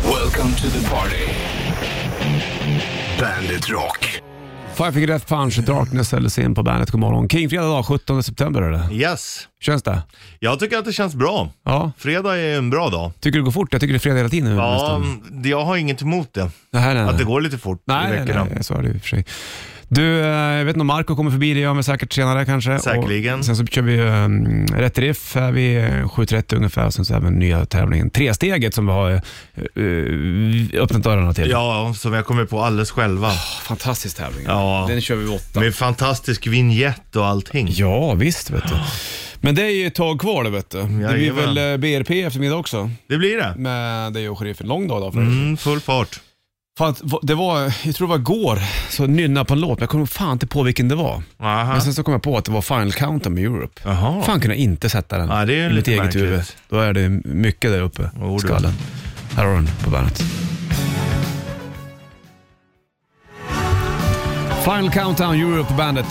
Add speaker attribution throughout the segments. Speaker 1: Welcome to the party. Bandit Rock.
Speaker 2: Five Finger Death Punch, Darkness ställer sig in på bandet. God morgon. Kingfredag dag, 17 september är det.
Speaker 3: Yes,
Speaker 2: Känns det?
Speaker 3: jag tycker att det känns bra.
Speaker 2: Ja.
Speaker 3: Fredag är en bra dag.
Speaker 2: Tycker det går fort? Jag tycker det är fredag hela tiden nu
Speaker 3: Ja,
Speaker 2: nästan.
Speaker 3: det- jag har inget emot det.
Speaker 2: Nej, nej, nej.
Speaker 3: Att det går lite fort i
Speaker 2: Nej,
Speaker 3: veckorna.
Speaker 2: nej, nej, så är det i och för sig. Du, eh, jag vet inte om Marco kommer förbi, det gör han säkert senare kanske.
Speaker 3: Säkerligen.
Speaker 2: Och sen så kör vi um, rätt riff här vid eh, 7.30 ungefär, och sen så även nya tävlingen Tresteget som vi har eh, eh, öppnat dörrarna till.
Speaker 3: Ja, som jag kommer på alldeles själva.
Speaker 2: Fantastisk tävling.
Speaker 3: Ja.
Speaker 2: Den kör vi vid åtta.
Speaker 3: Med fantastisk vignett och allting.
Speaker 2: Ja, visst vet du. Men det är ju ett tag kvar det vet du. det blir
Speaker 3: Jajamän.
Speaker 2: väl eh, BRP i eftermiddag också
Speaker 3: Det blir det.
Speaker 2: med dig och sheriffen. Lång dag då för mm.
Speaker 3: Mm, full fart.
Speaker 2: Fan, det var, jag tror det var igår, så nynna på en låt, men jag kommer fan inte på vilken det var.
Speaker 3: Aha.
Speaker 2: Men sen så kom jag på att det var Final Countdown med Europe.
Speaker 3: Jaha.
Speaker 2: Fan kunde jag inte sätta den
Speaker 3: Ja, det är
Speaker 2: i
Speaker 3: lite
Speaker 2: mitt eget
Speaker 3: märkligt.
Speaker 2: huvud. Då är det mycket där uppe
Speaker 3: Jo,
Speaker 2: i
Speaker 3: du.
Speaker 2: skallen. Här har du den på bandet. Final Countdown Europe på bandet.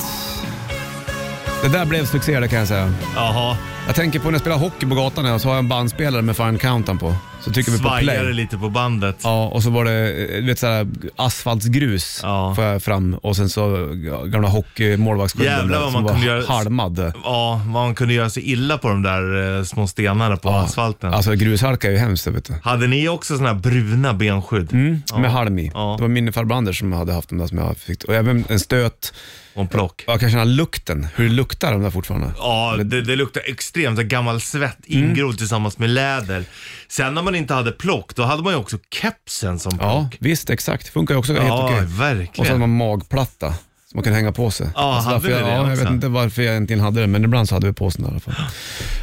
Speaker 2: Det där blev succé det kan jag säga.
Speaker 3: Jaha,
Speaker 2: Jag tänker på när jag spelar hockey på gatan här, så har jag en bandspelare med Final Countdown på. Så trycker vi på
Speaker 3: svajar det
Speaker 2: play.
Speaker 3: lite på bandet.
Speaker 2: Ja, och så var det eh, du vet, såhär, asfaltsgrus
Speaker 3: Ja.
Speaker 2: får jag fram och sen så gamla hockeymålvaktsklubben
Speaker 3: Jävlar
Speaker 2: där
Speaker 3: vad
Speaker 2: som
Speaker 3: man kunde
Speaker 2: var
Speaker 3: göra-
Speaker 2: halmad.
Speaker 3: Ja, man kunde göra sig illa på de där eh, små stenarna på asfalten.
Speaker 2: Alltså grushalka är ju hemskt vet du.
Speaker 3: Hade ni också sådana här bruna benskydd?
Speaker 2: Med halm i.
Speaker 3: Ja.
Speaker 2: Det var min farbror Anders som hade haft dem där som jag fick. Och även en stöt.
Speaker 3: Och en plock?
Speaker 2: Jag kan känna lukten, hur det luktar de där fortfarande.
Speaker 3: Ja, det, det luktar extremt av gammal svett ingrodd
Speaker 2: Mm.
Speaker 3: tillsammans med läder. Sen när man inte hade plock, då hade man ju också kepsen som
Speaker 2: Ja,
Speaker 3: plock.
Speaker 2: visst exakt. Funkar ju också helt
Speaker 3: Ja,
Speaker 2: okej.
Speaker 3: verkligen.
Speaker 2: Och så hade man magplatta som man kan hänga på sig. Alltså,
Speaker 3: Ja, hade
Speaker 2: varför
Speaker 3: ni
Speaker 2: jag,
Speaker 3: det
Speaker 2: ja, jag
Speaker 3: också?
Speaker 2: vet inte varför jag egentligen hade det, men ibland så hade vi på oss den i alla fall.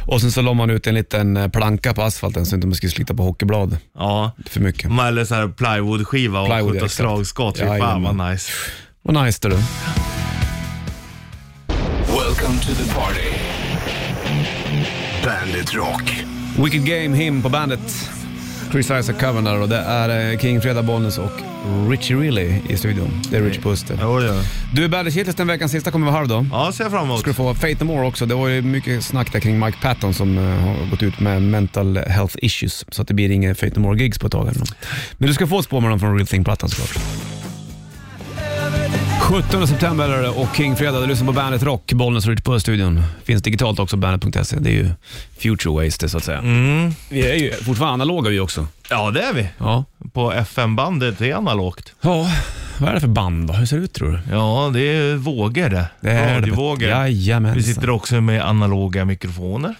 Speaker 2: Och sen så la man ut en liten eh, planka på asfalten så inte man skulle slita på hockeyblad
Speaker 3: Ja.
Speaker 2: för mycket.
Speaker 3: Man- Eller så här plywoodskiva och
Speaker 2: Plywood,
Speaker 3: skjuta
Speaker 2: exakt.
Speaker 3: slagskott. Fy fan
Speaker 2: Jajamän.
Speaker 3: vad nice.
Speaker 2: Vad nice det du.
Speaker 1: Welcome to the party. Bandit Rock.
Speaker 2: Wicked Game, him på bandet. Chris Isaac covern där och det är eh, King, Freda Bollnäs och Richie Rilly i studion. Det är Rich Puster.
Speaker 3: Jo, jo.
Speaker 2: Du, Bandit Hitlist den veckans sista kommer vara halv då.
Speaker 3: Ja, ser jag fram emot.
Speaker 2: Ska du få Fate No More också. Det var ju mycket snack där kring Mike Patton som eh, har gått ut med mental health issues. Så att det blir inga Fate No More-gigs på ett tag. eller nåt. Men du ska få ett spår med dem från Real Thing-plattan såklart. 17 september är det och King Fredag. Du lyssnar på Bandet Rock, Bollnäs och Rich Puss studion. Finns digitalt också, bandet.se. Det är ju future ways det så att säga. Vi är ju fortfarande analoga vi också.
Speaker 3: Mm. Ja, det är vi.
Speaker 2: Ja.
Speaker 3: På FM-bandet, det är analogt.
Speaker 2: ja, vad är det för band då? Hur ser det ut tror du?
Speaker 3: Ja, det är vågor det.
Speaker 2: Det är det.
Speaker 3: Radiovågor.
Speaker 2: Jajamensan.
Speaker 3: Vi sitter också med analoga mikrofoner.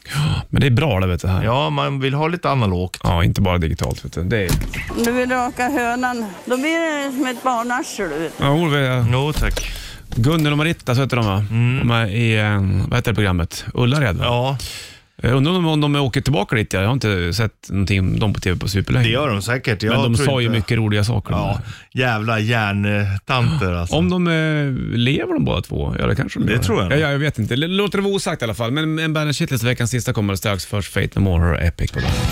Speaker 2: Men det är bra det vet du. Här.
Speaker 3: Ja, man vill ha lite analogt.
Speaker 2: Ja, inte bara digitalt. Vet du. Det är...
Speaker 4: Om du vill raka hönan, då blir det som ett barnarsel. du vet.
Speaker 2: Ja, Ove,
Speaker 3: Jo, tack.
Speaker 2: Gunnel och Maritta så heter de va? De är i, eh, vad heter det programmet? Ullared va?
Speaker 3: Mm. Ja,
Speaker 2: Jag undrar om de, om de åker tillbaka dit. ja. Jag har inte sett någonting om dem på tv på superlänge.
Speaker 3: det gör de säkert. Jag
Speaker 2: Men de
Speaker 3: tror
Speaker 2: sa ju
Speaker 3: inte-
Speaker 2: mycket roliga saker. de
Speaker 3: Ja,
Speaker 2: där.
Speaker 3: jävla järntanter alltså.
Speaker 2: Om de eh, lever de båda två? Ja, det kanske de
Speaker 3: Det
Speaker 2: gör.
Speaker 3: tror jag nog.
Speaker 2: Ja, ja, jag vet inte. L- Låter det vara osagt i alla fall. Men en Bandit Shitlist veckans sista kommer strax. Först Fate No More och Epic på bandet.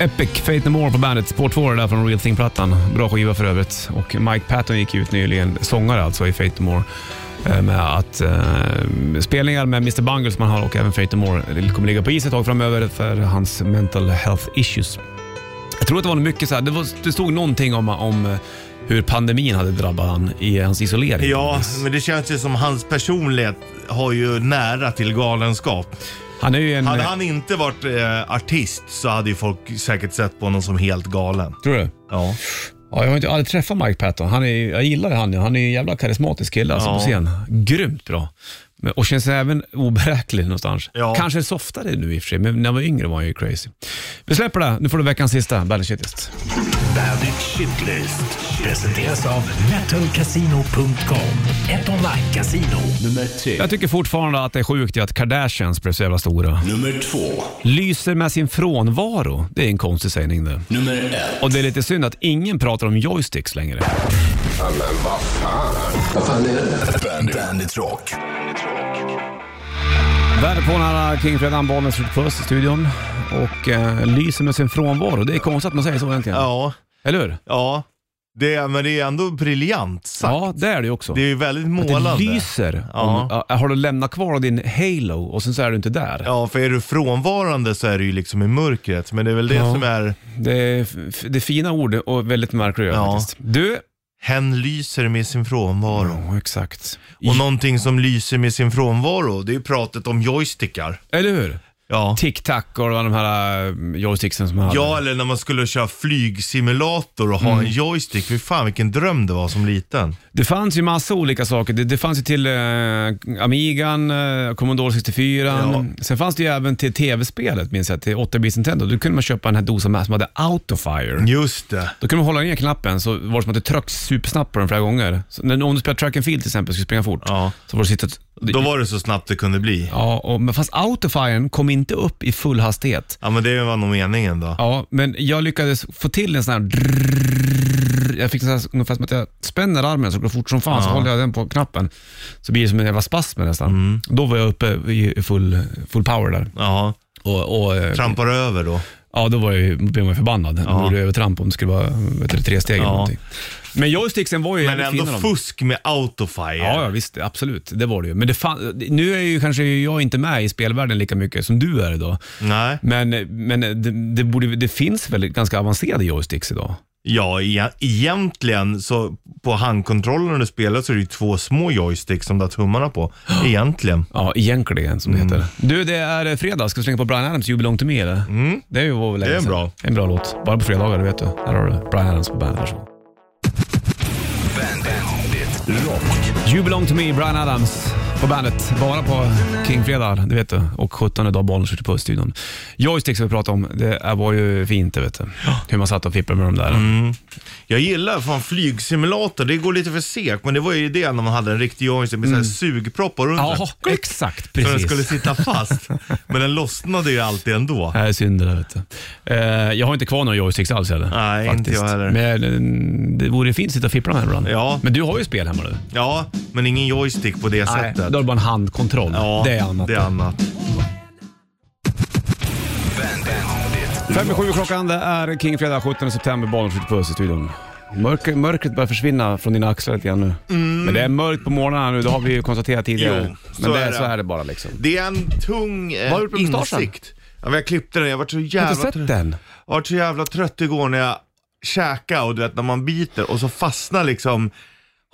Speaker 2: Epic, Fate No More på bandet. Spår 2 är där från Real Thing-plattan. Bra skiva för övrigt. Och Mike Patton gick ut nyligen, sångare alltså, i Fate No More. eh, Med att eh, spelningar med Mr Bungle som han har och även Fate No More kommer ligga på is ett tag framöver för hans mental health issues. Jag tror att det var mycket så här, det, var, det stod någonting om, om eh, hur pandemin hade drabbat han i hans isolering.
Speaker 3: Ja, men det känns ju som hans personlighet har ju nära till galenskap.
Speaker 2: Han är ju en...
Speaker 3: Hade han inte varit eh, artist så hade ju folk säkert sett på honom som helt galen.
Speaker 2: Tror du?
Speaker 3: Ja.
Speaker 2: Ja, jag har inte aldrig träffat Mike Patton. Han är, ju- jag gillar han ju. Han är ju en jävla karismatisk kille alltså,
Speaker 3: Ja.
Speaker 2: på scen. Grymt bra. Men- Och känns även oberäknelig någonstans.
Speaker 3: Ja.
Speaker 2: Kanske softare nu i och för sig, men när jag var yngre var han ju crazy. Vi släpper det. Nu får du veckans sista, Bandit Shitlist.
Speaker 5: Bandit Shitlist presenteras av metalcasino.com. Ett online-casino.
Speaker 1: Nummer tre.
Speaker 2: Jag tycker fortfarande att det är sjukt ju att Kardashians blev så jävla stora.
Speaker 1: Nummer två.
Speaker 2: Lyser med sin frånvaro. Det är en konstig sägning det.
Speaker 1: Nummer ett.
Speaker 2: Och det är lite synd att ingen pratar om joysticks längre.
Speaker 1: Bandit, Bandit Rock.
Speaker 2: Väderpånarna King Fredan, Bollnäs, Rich Puss i studion. Och eh, lyser med sin frånvaro. Det är konstigt att man säger så egentligen.
Speaker 3: Ja.
Speaker 2: Eller hur?
Speaker 3: Ja. Det, men det är ändå briljant sagt.
Speaker 2: Ja, det är det ju också.
Speaker 3: Det är ju väldigt
Speaker 2: Att det
Speaker 3: målande.
Speaker 2: lyser. Om,
Speaker 3: Ja.
Speaker 2: ja, har du lämnat kvar din halo och sen så är du inte där.
Speaker 3: Ja, för är du frånvarande så är du ju liksom i mörkret. Men det är väl det
Speaker 2: Ja.
Speaker 3: som är,
Speaker 2: Det, är, f- det är fina ord och väldigt märkliga
Speaker 3: Ja.
Speaker 2: faktiskt. Du?
Speaker 3: hen lyser med sin frånvaro.
Speaker 2: Ja, exakt.
Speaker 3: Och någonting som lyser med sin frånvaro, det är ju pratet om joystickar.
Speaker 2: Eller hur?
Speaker 3: Ja.
Speaker 2: Tic-tac och alla de här eh, joysticksen som man hade.
Speaker 3: Ja, eller när man skulle köra flygsimulator och ha
Speaker 2: Mm.
Speaker 3: en joystick. Fy fan vilken dröm det var som liten.
Speaker 2: Det fanns ju massa olika saker. Det, det fanns ju till eh, Amigan, eh, Commodore 64. Sen fanns det ju även till tv-spelet, minns jag, till 8-bits Nintendo. Då kunde man köpa den här dosan med som hade autofire.
Speaker 3: Just det.
Speaker 2: Då kunde man hålla ner knappen så var det som att du tryckte supersnabbt på den flera gånger. Så när, om du spelade track and field till exempel, skulle springa fort,
Speaker 3: Ja.
Speaker 2: så var det sitta...
Speaker 3: Då var det så snabbt det kunde bli.
Speaker 2: Ja, och, men fast autofiren kom inte upp i full hastighet.
Speaker 3: Ja, men det var nog meningen då.
Speaker 2: Ja, men jag lyckades få till en sån här drrrr. Jag fick så här, ungefär som att jag spänner armen så går det fort som fan, så håller jag den på knappen. Så blir det som en jävla spasm nästan. Då var jag uppe i full, full power där.
Speaker 3: Ja.
Speaker 2: Och, och, eh,
Speaker 3: Trampar över då.
Speaker 2: ja, då var jag, ju- blev man ju förbannad. Då gjorde jag övertramp om det skulle vara vet du, tre steg eller
Speaker 3: Ja.
Speaker 2: någonting. Men joysticksen var ju
Speaker 3: Men
Speaker 2: jävligt
Speaker 3: ändå
Speaker 2: fina de.
Speaker 3: fusk med autofire.
Speaker 2: Ja, ja, visst. Absolut. Det var det ju. Men det fan, nu är ju kanske jag inte med i spelvärlden lika mycket som du är idag.
Speaker 3: Nej.
Speaker 2: Men, men det, det, borde, det finns väl ganska avancerade joysticks idag?
Speaker 3: Ja, e- egentligen så på handkontrollen när du spelar så är det ju två små joysticks som du har tummarna på. Egentligen.
Speaker 2: Ja, egentligen som det
Speaker 3: Mm.
Speaker 2: heter. Du, det är eh, fredag. Ska vi slänga på Brian Adams You Belong To Me eller? Det är ju vår
Speaker 3: Mm. Det är bra.
Speaker 2: En bra låt. Bara på fredagar, det vet du. Här har du Brian Adams på bandet. Varsågod. You Belong To Me, Brian Adams på bandet. Bara på Kingfredag, det vet du. Och 17 dag bollen skjuter på studion. Joystick som vi pratade om, det var ju fint det vet du. Hur man satt och fipplade med dem där.
Speaker 3: Mm. Jag gillar fan flygsimulator, det går lite för sekt men det var ju det när man hade en riktig joystick med mm. sugproppar runt
Speaker 2: Ja,
Speaker 3: den.
Speaker 2: exakt.
Speaker 3: Så den
Speaker 2: Precis.
Speaker 3: skulle sitta fast. men den lossnade ju alltid ändå.
Speaker 2: Nej, synd det där vet du. Eh, jag har inte kvar några joysticks alls heller.
Speaker 3: Nej, inte jag heller.
Speaker 2: Men eh, det vore fint att sitta och fippla med ibland.
Speaker 3: Ja.
Speaker 2: Men du har ju spel hemma du.
Speaker 3: Ja, men ingen joystick på det
Speaker 2: Då har
Speaker 3: sättet.
Speaker 2: du bara en handkontroll.
Speaker 3: Ja,
Speaker 2: det är annat.
Speaker 3: Det är annat.
Speaker 2: Fem i sju klockan, det är Kingfredag 17 september, bollen skjuter puss i studion. Mörker, mörkret börjar försvinna från dina axlar lite grann nu. Men det är mörkt på morgnarna nu, det har vi ju konstaterat tidigare.
Speaker 3: Mm. Jo, så
Speaker 2: Men det
Speaker 3: är
Speaker 2: är,
Speaker 3: det.
Speaker 2: så är det bara liksom.
Speaker 3: Det är en tung eh,
Speaker 2: Vad har du på mustaschen?
Speaker 3: insikt. Ja, men jag klippte den, jag var så
Speaker 2: Jag har
Speaker 3: jävla
Speaker 2: inte sett
Speaker 3: trött.
Speaker 2: den.
Speaker 3: Jag var så jävla trött igår när jag käkade och du vet när man biter och så fastnar liksom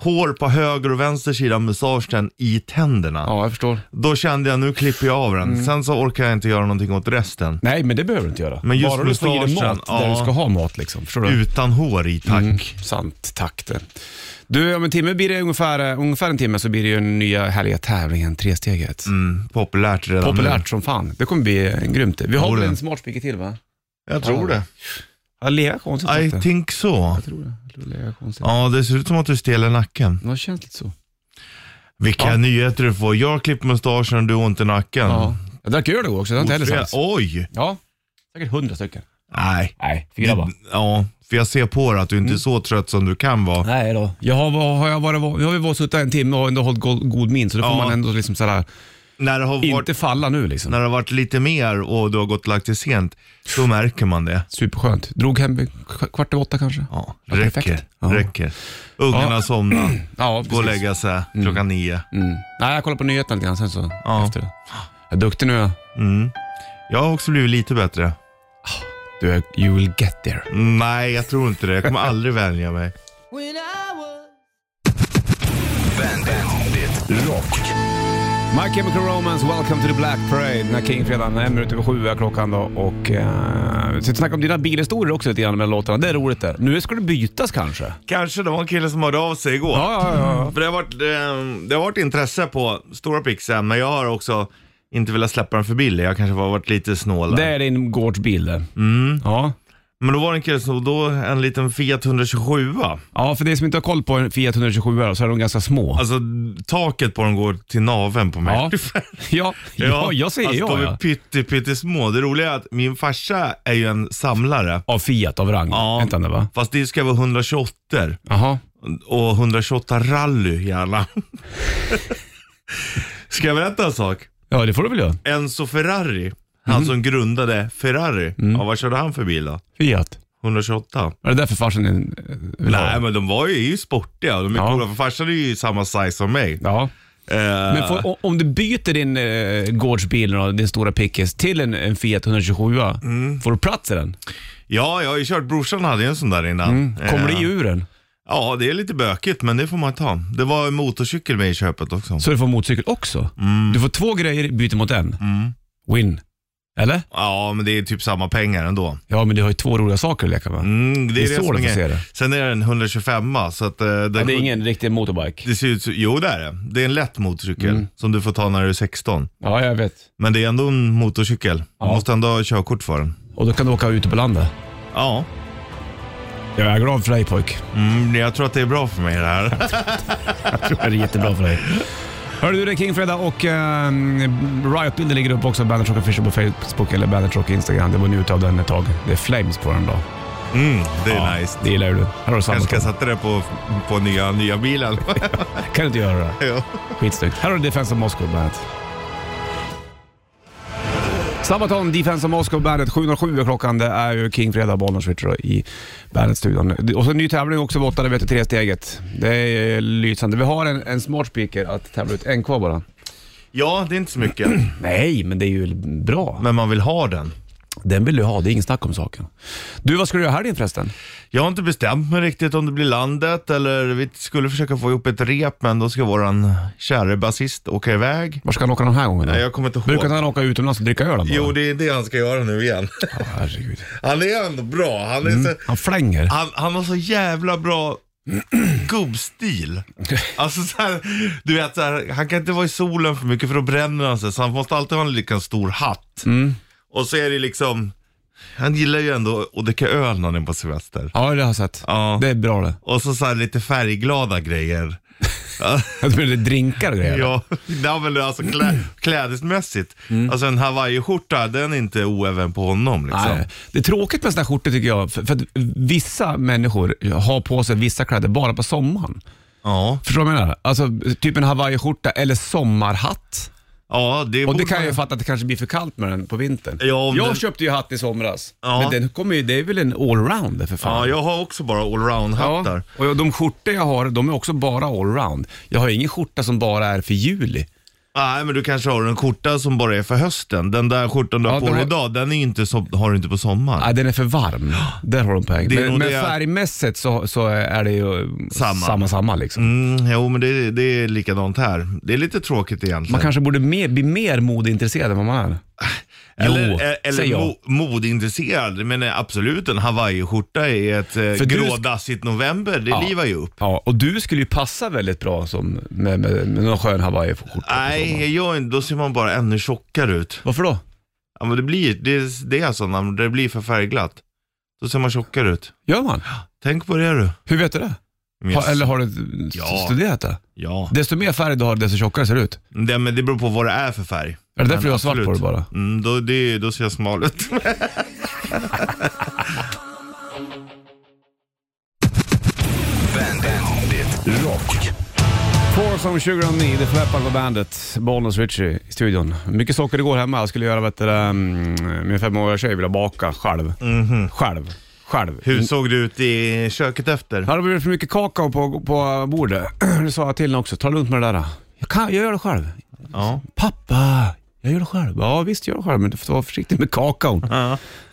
Speaker 3: hår på höger och vänster sida av mustaschen i tänderna.
Speaker 2: Ja, Mm. jag förstår.
Speaker 3: Då kände jag nu klipper jag av den. Sen så orkar jag inte göra någonting åt resten.
Speaker 2: Nej, men det behöver du inte göra.
Speaker 3: Men just
Speaker 2: bara du får i dig
Speaker 3: mustaschen,
Speaker 2: mat där
Speaker 3: ja.
Speaker 2: du ska ha mat liksom. Förstår du?
Speaker 3: Utan hår i tack.
Speaker 2: Sant, tack det. Du, om en timme blir det ungefär, ungefär en timme så blir det ju den nya härliga tävlingen Tresteget.
Speaker 3: Populärt redan
Speaker 2: Mm. Populärt som fan. Det kommer bli en grymt det. Vi har
Speaker 3: Jo,
Speaker 2: väl
Speaker 3: det.
Speaker 2: en smart speaker till va?
Speaker 3: nu. Jag tror det.
Speaker 2: Ja, leva konstigt.
Speaker 3: I
Speaker 2: låter det.
Speaker 3: think so.
Speaker 2: Jag tror det. Jag tror leva konstigt.
Speaker 3: Ja, det ser ut som att du stelar nacken.
Speaker 2: Ja, Det känns lite så.
Speaker 3: Vilka
Speaker 2: Ja.
Speaker 3: nyheter du får. Jag har klippt mustaschen och du har ont i nacken.
Speaker 2: Ja. Jag drack öl igår också, det har inte heller
Speaker 3: Ofred-
Speaker 2: sagts.
Speaker 3: Oj!
Speaker 2: Ja, säkert hundra stycken.
Speaker 3: Nej.
Speaker 2: Nej, fyra bara.
Speaker 3: Ja, för jag ser på dig att du inte är så trött som du kan vara.
Speaker 2: Mm. Nej då. Jag har, vad har jag varit, jag har vi suttit här en timme och har ändå hållit god, god min, så då får
Speaker 3: Ja.
Speaker 2: man ändå liksom sådär,
Speaker 3: När det, har varit,
Speaker 2: inte falla nu liksom.
Speaker 3: när det har varit lite mer och du har gått och lagt dig sent, så märker man det.
Speaker 2: Superskönt. Drog hem vid k- kvart över åtta kanske.
Speaker 3: Ja,
Speaker 2: Ja, perfekt.
Speaker 3: räcker.
Speaker 2: Ja.
Speaker 3: räcker. Ungarna
Speaker 2: Ja.
Speaker 3: somnar,
Speaker 2: Ja,
Speaker 3: gå och
Speaker 2: precis.
Speaker 3: lägga sig klockan nio.
Speaker 2: Mm. Nej, jag kollar på nyheterna lite grann sen så
Speaker 3: Ja.
Speaker 2: efter det. Jag är duktig nu. ja.
Speaker 3: Jag har också blivit lite bättre.
Speaker 2: Du, är- you will get there.
Speaker 3: Nej, jag tror inte det. Jag kommer aldrig vänja mig.
Speaker 2: My Chemical Romance, Welcome to the Black Parade. Den här King-fredagen, en minut över sju är klockan då. Och eh, vi ska snacka om dina bilhistorier också lite grann med låtarna. Det är roligt det. Nu ska det bytas kanske. Ja,
Speaker 3: Kanske det var en kille som hörde av sig igår.
Speaker 2: ja, ja.
Speaker 3: För det har, varit, eh, det har varit intresse på stora pixen, men jag har också inte velat släppa den för billig. Jag kanske har varit lite snål.
Speaker 2: Det
Speaker 3: där.
Speaker 2: är din gårdsbil det. Mm. Ja.
Speaker 3: Men då var det en kille som då en liten Fiat 127.
Speaker 2: ja, för de som inte har koll på en Fiat 127 här, så är de ganska små.
Speaker 3: Alltså taket på den går till naveln på mig.
Speaker 2: Ja, ja, ja jag säger
Speaker 3: alltså,
Speaker 2: ja.
Speaker 3: De är
Speaker 2: ja.
Speaker 3: pytte, pyttesmå. Det roliga är att min farsa är ju en samlare.
Speaker 2: Av Fiat, av rang.
Speaker 3: Ja.
Speaker 2: Inte annat, va?
Speaker 3: Fast det ska vara 128
Speaker 2: Jaha.
Speaker 3: och 128 rally gärna. ska jag berätta en sak?
Speaker 2: Ja, det får du väl göra. Mhm. Mm.
Speaker 3: Enzo Ferrari, han som grundade Ferrari. Ja, vad körde han för bil då?
Speaker 2: Fiat.
Speaker 3: 128.
Speaker 2: Var det därför farsan eh, ville ha?
Speaker 3: Nej, men de var ju, är ju sportiga. De är
Speaker 2: Ja.
Speaker 3: coola, för farsan är ju samma size som mig.
Speaker 2: Ja.
Speaker 3: Eh,
Speaker 2: Men får, o- om du byter din eh, gårdsbil, då, din stora pickis, till en, en Fiat 127,
Speaker 3: Mm.
Speaker 2: får du plats i den?
Speaker 3: Ja, jag har ju kört. Brorsan hade ju en sån där innan.
Speaker 2: Mm. Kommer
Speaker 3: Eh,
Speaker 2: du ur den?
Speaker 3: Ja, det är lite bökigt, men det får man ta. Det var en motorcykel med i köpet också.
Speaker 2: Så du får motorcykel också?
Speaker 3: Mm.
Speaker 2: Du får två grejer byter mot en. Win. Eller?
Speaker 3: Ja, men det är typ samma pengar ändå.
Speaker 2: Ja, men du har ju två roliga saker att leka med.
Speaker 3: Mm, det, är det,
Speaker 2: så
Speaker 3: som
Speaker 2: de
Speaker 3: är
Speaker 2: får se
Speaker 3: grejen.
Speaker 2: det.
Speaker 3: Sen är det en 125 så att... eh, den-
Speaker 2: Ja, det är ingen riktig motorbike.
Speaker 3: det ser ut som, jo det är det. Det är en lätt motorcykel
Speaker 2: Mm.
Speaker 3: som du får ta när du är 16.
Speaker 2: Ja, jag vet.
Speaker 3: Men det är ändå en motorcykel. Du
Speaker 2: Ja.
Speaker 3: måste ändå ha körkort för den.
Speaker 2: Och då kan du åka ute på landet.
Speaker 3: Ja,
Speaker 2: Jag är glad för dig pojk.
Speaker 3: mm, jag tror att det är bra för mig det här.
Speaker 2: Jag tror det är jättebra för dig. Hörru du, det är Kingfredag och um, Riot-bilder ligger upp också. Bandet Rock Official på Facebook eller Bandet Rock Instagram. Det var njut av den ett tag. Det är Flames på den då.
Speaker 3: Mm, det är nice.
Speaker 2: Det gillar ju du. Här har du
Speaker 3: Kanske ska jag
Speaker 2: Sabaton.
Speaker 3: sätta det på, på nya, nya bilen.
Speaker 2: Kan du inte göra det?
Speaker 3: Ja.
Speaker 2: Skitsnyggt. Här har du Defense of Moscow Bandet. Sabaton, Defense of Moscow Bandet. 7.07 är klockan. Det är ju Kingfredag, Bollnäs Richard i Bandet-studion. Och så en ny tävling också på 8, det vet du, tresteget. Det är eh, lysande. Vi har en, en smart speaker att tävla ut. En kvar bara.
Speaker 3: ja, det är inte så mycket.
Speaker 2: Nej, men det är ju bra.
Speaker 3: Men man vill ha den.
Speaker 2: Den vill du ha, det är ingen snack om saken. Du, vad ska du göra här din förresten?
Speaker 3: Jag har inte bestämt mig riktigt om det blir landet eller vi skulle försöka få ihop ett rep men då ska våran käre basist åka iväg.
Speaker 2: Var ska han åka den här gången? då?
Speaker 3: Nej, jag kommer inte ihåg.
Speaker 2: Brukar inte han åka utomlands och dricka öl? bara?
Speaker 3: Jo, det är det han ska göra nu igen.
Speaker 2: Ja, herregud.
Speaker 3: Han är ändå bra. Han, är så,
Speaker 2: Han flänger.
Speaker 3: han, han har så jävla bra gubbstil. Alltså så här, du vet, så här, han kan inte vara i solen för mycket för då bränner han sig. Så han måste alltid ha en lika stor hatt.
Speaker 2: Mm.
Speaker 3: Och så är det liksom, han gillar ju ändå att dricka öl när han är på semester.
Speaker 2: Ja, det har jag sett.
Speaker 3: Ja.
Speaker 2: Det är bra det.
Speaker 3: Och så, så här lite färgglada grejer.
Speaker 2: Jag tror det är drinkar och grejer.
Speaker 3: Ja, nej, men alltså klä, klädesmässigt.
Speaker 2: Mm.
Speaker 3: Alltså en hawaiiskjorta, den är inte oäven på honom liksom.
Speaker 2: Nej, det är tråkigt med sådana här skjortor tycker jag, för, för att vissa människor har på sig vissa kläder bara på sommaren.
Speaker 3: Ja,
Speaker 2: Förstår du vad jag menar? Alltså typ en hawaiiskjorta eller sommarhatt.
Speaker 3: ja det
Speaker 2: Och
Speaker 3: borde
Speaker 2: det kan jag ju
Speaker 3: man-
Speaker 2: fatta att det kanske blir för kallt med den på vintern.
Speaker 3: Ja, om
Speaker 2: jag
Speaker 3: den-
Speaker 2: köpte ju hatt i somras,
Speaker 3: Ja.
Speaker 2: men den kommer ju, det är väl en allround för fan.
Speaker 3: Ja, jag har också bara allround-hattar.
Speaker 2: Ja, och de skjortor jag har, de är också bara allround. Jag har ingen skjorta som bara är för juli.
Speaker 3: Nej, men du kanske har en skjorta som bara är för hösten. Den där skjortan du
Speaker 2: Ja,
Speaker 3: har på
Speaker 2: den
Speaker 3: dig
Speaker 2: har-
Speaker 3: idag, den är ju inte som, har du inte på sommaren.
Speaker 2: Nej, den är för varm. Där har de poäng.
Speaker 3: Det är
Speaker 2: Men,
Speaker 3: nog
Speaker 2: men
Speaker 3: det jag-
Speaker 2: färgmässigt så, så är det ju samma,
Speaker 3: Samma.
Speaker 2: samma, liksom.
Speaker 3: Mm, jo, men det, det är likadant här. Det är lite tråkigt egentligen.
Speaker 2: Man kanske borde mer, bli mer modeintresserad än vad man är.
Speaker 3: eller
Speaker 2: Jo,
Speaker 3: eh, eller
Speaker 2: säger jag.
Speaker 3: mo, modeintresserad, men eh, absolut en hawaiiskjorta i ett eh,
Speaker 2: För du sk-
Speaker 3: grådassigt november, det livar ju upp.
Speaker 2: Ja, och du skulle ju passa väldigt bra som, med, med, med någon skön hawaiiskjorta. på
Speaker 3: Nej,
Speaker 2: sommaren.
Speaker 3: jag gör inte. Då ser man bara ännu tjockare ut.
Speaker 2: Varför då?
Speaker 3: Ja, men det, blir, det, det är alltså när det blir för färgglatt. Då ser man tjockare ut.
Speaker 2: Gör man?
Speaker 3: Tänk på det du.
Speaker 2: Hur vet du det?
Speaker 3: Men
Speaker 2: Ha,
Speaker 3: jag-
Speaker 2: eller har du s-
Speaker 3: Ja.
Speaker 2: studerat det?
Speaker 3: Ja,
Speaker 2: Desto mer färg du har, desto tjockare ser du ut.
Speaker 3: det, men det beror på vad det är för färg.
Speaker 2: Är det därför du har svart
Speaker 3: absolut.
Speaker 2: på dig bara?
Speaker 3: Mm, då, det, då ser jag smal ut.
Speaker 1: Rock.
Speaker 2: Four som 2009, The Flap på bandet. Bollnäs Richie i studion. Mycket socker igår hemma. Jag skulle göra, vet du, mm, min femåriga tjej ville baka själv. Själv. Själv.
Speaker 3: Hur såg det ut i köket efter?
Speaker 2: Ja, det blev för mycket kakao på, på bordet. Det sa jag till henne också. Ta lugnt med det där. Jag, kan, jag gör det själv.
Speaker 3: Ja.
Speaker 2: Pappa, jag gör det själv. Ja, visst gör det själv, men du får vara försiktig med kakaon.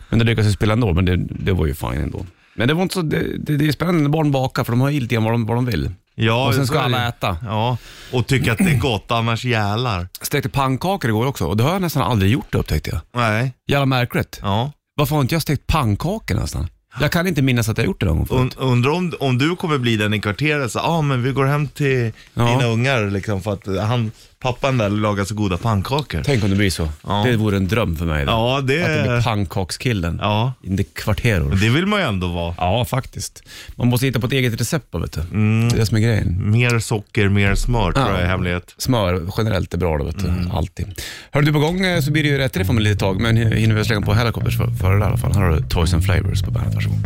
Speaker 2: Men det lyckades jag spela ändå, men det, det var ju fine ändå. Men det var inte så, det, det, det är spännande när barn bakar, för de har ju lite grann vad de, vad de vill.
Speaker 3: ja
Speaker 2: och sen
Speaker 3: så
Speaker 2: ska
Speaker 3: är det.
Speaker 2: alla äta.
Speaker 3: Ja, och tycka att det är gott, annars jälar.
Speaker 2: Stekte pannkakor igår också och det har jag nästan aldrig gjort upptäckte jag.
Speaker 3: Nej,
Speaker 2: Jävla märkligt.
Speaker 3: ja.
Speaker 2: Varför har inte jag stekt pannkakor nästan? Jag kan inte minnas att jag gjort det någon gång förut.
Speaker 3: Und, undrar om, om du kommer bli den i kvarteret, så ah, men vi går hem till
Speaker 2: Ja.
Speaker 3: dina ungar liksom, för att han, pappan där lagar så goda pannkakor.
Speaker 2: Tänk om det blir så.
Speaker 3: Ja.
Speaker 2: Det vore en dröm för mig. då.
Speaker 3: Ja, det-
Speaker 2: Att det blir pannkakskillen.
Speaker 3: Ja, Mm.
Speaker 2: In the kvarteror.
Speaker 3: men det vill man ju ändå vara.
Speaker 2: Ja, faktiskt. Man måste hitta på ett eget recept bara, vet du.
Speaker 3: Mm.
Speaker 2: Det är det som är grejen.
Speaker 3: Mer socker, mer smör tror
Speaker 2: Ja.
Speaker 3: jag är hemlighet.
Speaker 2: Smör generellt är bra då, vet du. Alltid. Hör du, på gång eh, så blir det ju rätt riff om ett litet tag, men hinner vi slänga på Helicopters för, för det där, i alla fall. Här har du Toys and Flavors på bandet, varsågod.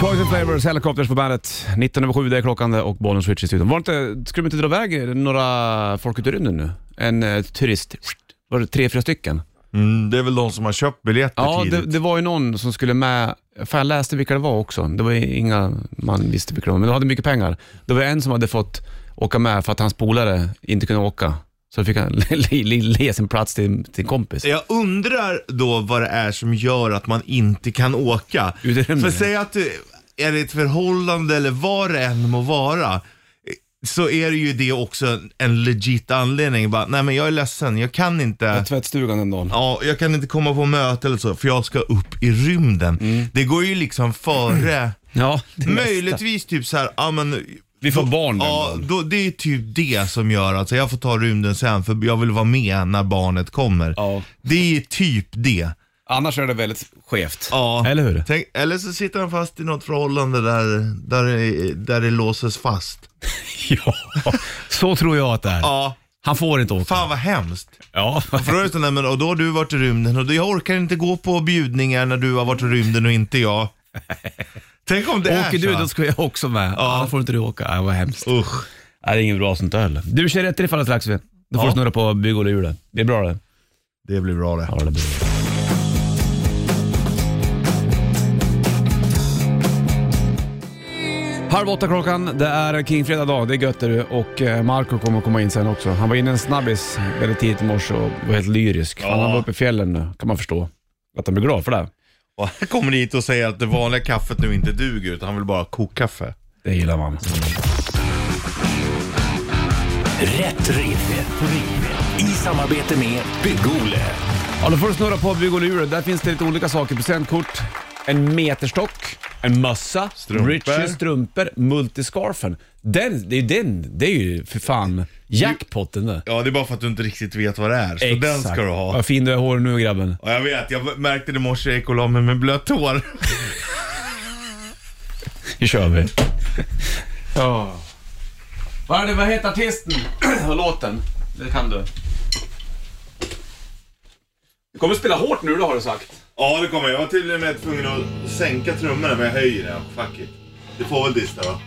Speaker 2: Toys and Flavors, Helicopters på bandet. 19 över 7, det är klockan och bollen switch i studion. Var det inte, skulle de inte dra iväg några folk ut i rymden nu? En eh, turist? Var det tre, fyra stycken?
Speaker 3: Mm, det är väl de som har köpt biljetter
Speaker 2: Ja, det,
Speaker 3: tidigt.
Speaker 2: det var ju någon som skulle med, för jag läste vilka det var också. Det var ju inga man visste vilka det var, men de hade mycket pengar. Det var en som hade fått åka med för att hans polare inte kunde åka. Så fick han le, le, le sin plats till till en kompis.
Speaker 3: Jag undrar då vad det är som gör att man inte kan åka.
Speaker 2: Jo, det är det.
Speaker 3: För säg att du är i ett förhållande eller vad det än må vara. eh, Så är det ju det också en legit anledning. Bara, nej men jag är ledsen, jag kan inte.
Speaker 2: Tvättstugan den dagen.
Speaker 3: Ja, jag kan inte komma på möte eller så för jag ska upp i rymden. Det går ju liksom före.
Speaker 2: Ja, Mm. det är nästa.
Speaker 3: Möjligtvis typ så här, ja men.
Speaker 2: Vi får barn den
Speaker 3: Ja,
Speaker 2: dagen.
Speaker 3: då, det är typ det som gör att så jag får ta rymden sen för jag vill vara med när barnet kommer.
Speaker 2: Ja.
Speaker 3: Det är typ det.
Speaker 2: Annars är det väldigt skevt.
Speaker 3: Ja.
Speaker 2: Eller hur?
Speaker 3: Tänk, eller så sitter han fast i något förhållande där, där, det- där det låses fast.
Speaker 2: Ja, så tror jag att det är.
Speaker 3: Ja,
Speaker 2: Han får inte åka.
Speaker 3: fan vad hemskt.
Speaker 2: Ja.
Speaker 3: För då är det sådär, men och då har du varit i rymden och då, jag orkar inte gå på bjudningar när du har varit i rymden och inte jag. Tänk om det
Speaker 2: Åker du,
Speaker 3: är
Speaker 2: då
Speaker 3: så.
Speaker 2: ska jag också med. Ja. Annars får inte du åka. Ja, vad hemskt.
Speaker 3: Usch.
Speaker 2: Nej, det är inget bra sånt där heller. Du kör rätt i fallet Laxve. Då får
Speaker 3: Ja.
Speaker 2: du snurra på bygghjulet. Det är bra det.
Speaker 3: Det blir bra det.
Speaker 2: Ja, det blir bra. Halv åtta klockan, det är Kingfredag dag, det är gött är det. och eh, Marco kommer komma in sen också. Han var inne en snabbis väldigt tidigt i morse och var helt lyrisk. Han var uppe i fjällen nu, kan man förstå. Att han blir glad för det.
Speaker 3: Och han kommer hit och säger att det vanliga kaffet nu inte duger utan han vill bara ha kokkaffe.
Speaker 2: Det gillar man.
Speaker 5: Rätt riff. Rätt riff. I samarbete med Bygg-Ole.
Speaker 2: Ja, då får du snurra på bygghjulet. Där finns det lite olika saker. Presentkort, en meterstock, en mössa,
Speaker 3: Strumpor.
Speaker 2: Richies strumpor, multiscarfen. Den, det är ju den, det är ju för fan jackpotten där.
Speaker 3: Ja, det är bara för att du inte riktigt vet vad det är. Så den ska du ha.
Speaker 2: Vad fin du är i håret nu grabben.
Speaker 3: Ja, jag vet. Jag märkte det i morse jag gick och la mig med blött hår.
Speaker 2: Nu kör vi. ja. Vad, är det, vad heter artisten och låten? Det kan du. Du kommer spela hårt nu då har du sagt.
Speaker 3: Ja, det kommer jag. Jag var till och med tvungen att sänka trummorna, men jag höjer den. Fuck it. Du får väl dista va?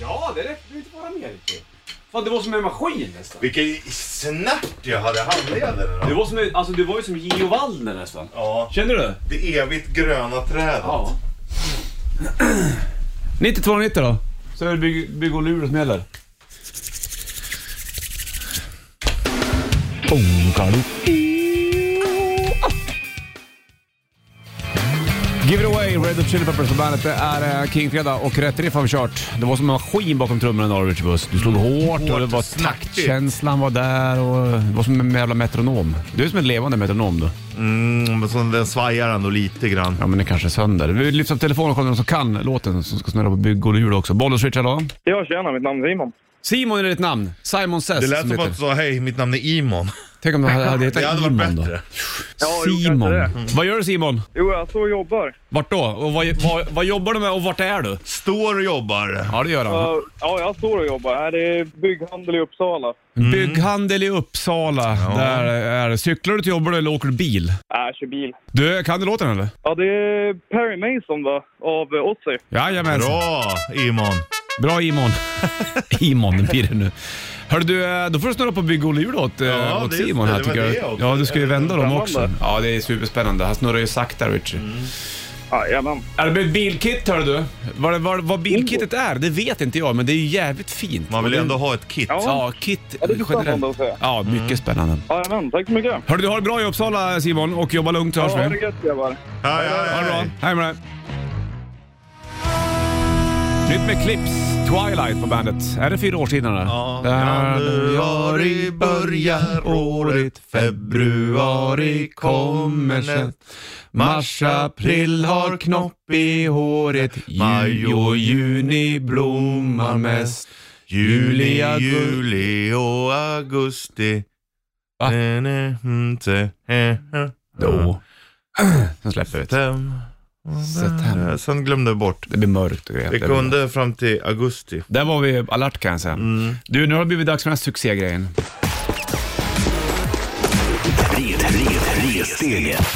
Speaker 2: Ja, det räcker. Du inte vara med riktigt. Fan, det var som en maskin nästan.
Speaker 3: Vilken snärt jag hade i handleden
Speaker 2: Du
Speaker 3: idag.
Speaker 2: var, som, alltså, du var ju som Gio Waldner nästan.
Speaker 3: Ja,
Speaker 2: Känner du det?
Speaker 3: det evigt gröna trädet.
Speaker 2: 9290 då. Så är det bygg, bygg och lur som gäller. Give it away, Red Hot Chili Peppers på bandet. Det är eh, Kingfredag och rätt riff har vi kört. Det var som en maskin bakom trummorna idag, Richard Buss. Du slog hårt, och det
Speaker 3: Hårt
Speaker 2: var
Speaker 3: och snaktigt.
Speaker 2: taktkänslan var där och det var som en jävla metronom. Du är som en levande metronom du.
Speaker 3: Mm, men så den svajar ändå lite grann.
Speaker 2: Ja men det kanske är sönder. Vi lyfter upp telefonen och kollar någon som kan låten som ska snurra på bygg och hjul också. Bollens Richard då?
Speaker 6: Ja, tjena. Mitt namn är Simon.
Speaker 2: Simon är ditt namn. Simon Says
Speaker 3: Det lät
Speaker 2: som
Speaker 3: som att
Speaker 2: heter.
Speaker 3: du sa hej, mitt namn är Imon.
Speaker 2: Tänk om det hade, hade hetat
Speaker 3: Det hade varit
Speaker 2: Simon då.
Speaker 3: bättre.
Speaker 6: Ja, jo,
Speaker 2: Simon. Mm.
Speaker 6: kanske det.
Speaker 2: Vad gör du Simon?
Speaker 6: Jo, jag står och jobbar.
Speaker 2: Vart då? Och vad, vad, vad jobbar du med och vart är du?
Speaker 3: Står och jobbar.
Speaker 2: Ja det gör han.
Speaker 6: Ja, ja, jag står och jobbar. Här är bygghandel i Uppsala.
Speaker 3: Mm.
Speaker 2: Bygghandel i Uppsala. Där är det. Cyklar du till jobbet eller åker du bil?
Speaker 6: Äh, jag kör bil.
Speaker 2: Du, kan du låten eller?
Speaker 6: Ja, det är Perry Mason va? av eh, Ozzy.
Speaker 2: Jajamän.
Speaker 3: Bra, Imon.
Speaker 2: Bra Imon. Imon det blir det nu. Hörru du, eh, då får du snurra på bygg och lur åt, eh,
Speaker 3: Ja,
Speaker 2: åt
Speaker 3: det-
Speaker 2: Simon här
Speaker 3: det
Speaker 2: tycker
Speaker 3: var
Speaker 2: jag.
Speaker 3: det Eh, också.
Speaker 2: Ja, du ska ju vända dem
Speaker 6: Spännande.
Speaker 2: också. Ja, det är superspännande. Han snurrar ju sakta Richie.
Speaker 3: Mm.
Speaker 6: Jajamän.
Speaker 2: Ja, det blir bilkit hör du. Vad, vad, vad
Speaker 6: Oh.
Speaker 2: bilkittet är, det vet inte jag, men det är ju jävligt fint.
Speaker 3: Man vill
Speaker 2: Och det-
Speaker 3: ändå ha ett kit.
Speaker 6: Ja.
Speaker 2: Ja, kit
Speaker 6: Ja, det är spännande
Speaker 2: generellt.
Speaker 6: att se.
Speaker 2: Ja, mycket
Speaker 3: Mm.
Speaker 2: spännande.
Speaker 6: Jajamän, tack så mycket.
Speaker 2: Hörru du, har det bra i Uppsala Simon och jobba lugnt så hörs
Speaker 6: Ja, ha
Speaker 2: vi.
Speaker 6: det gött grabbar.
Speaker 3: Hej,
Speaker 2: Ha det
Speaker 3: hej,
Speaker 2: bra.
Speaker 3: hej.
Speaker 2: Hej med dig. Nytt med Clips, Twilight på bandet. Är det fyra år sedan? eller?
Speaker 3: Ja.
Speaker 2: Där
Speaker 3: Januari börjar året, februari kommer sen. Mars, april har knopp
Speaker 2: i håret,
Speaker 3: Maj och
Speaker 2: juni blommar
Speaker 3: mest.
Speaker 2: Juli,
Speaker 3: Juli,
Speaker 2: augu-
Speaker 3: juli och augusti.
Speaker 2: Va?
Speaker 3: Ne, ne, mm, te, he, he.
Speaker 2: Då. Sen släpper vi det.
Speaker 3: Tem,
Speaker 2: September.
Speaker 3: Eh, Sen glömde jag bort.
Speaker 2: Det blir mörkt och
Speaker 3: Det
Speaker 2: jävligt.
Speaker 3: kunde Mm. fram till augusti.
Speaker 2: Där var vi alert kan jag säga. Du, nu har det blivit dags för den här succégrejen.
Speaker 5: Red, red, ressteget.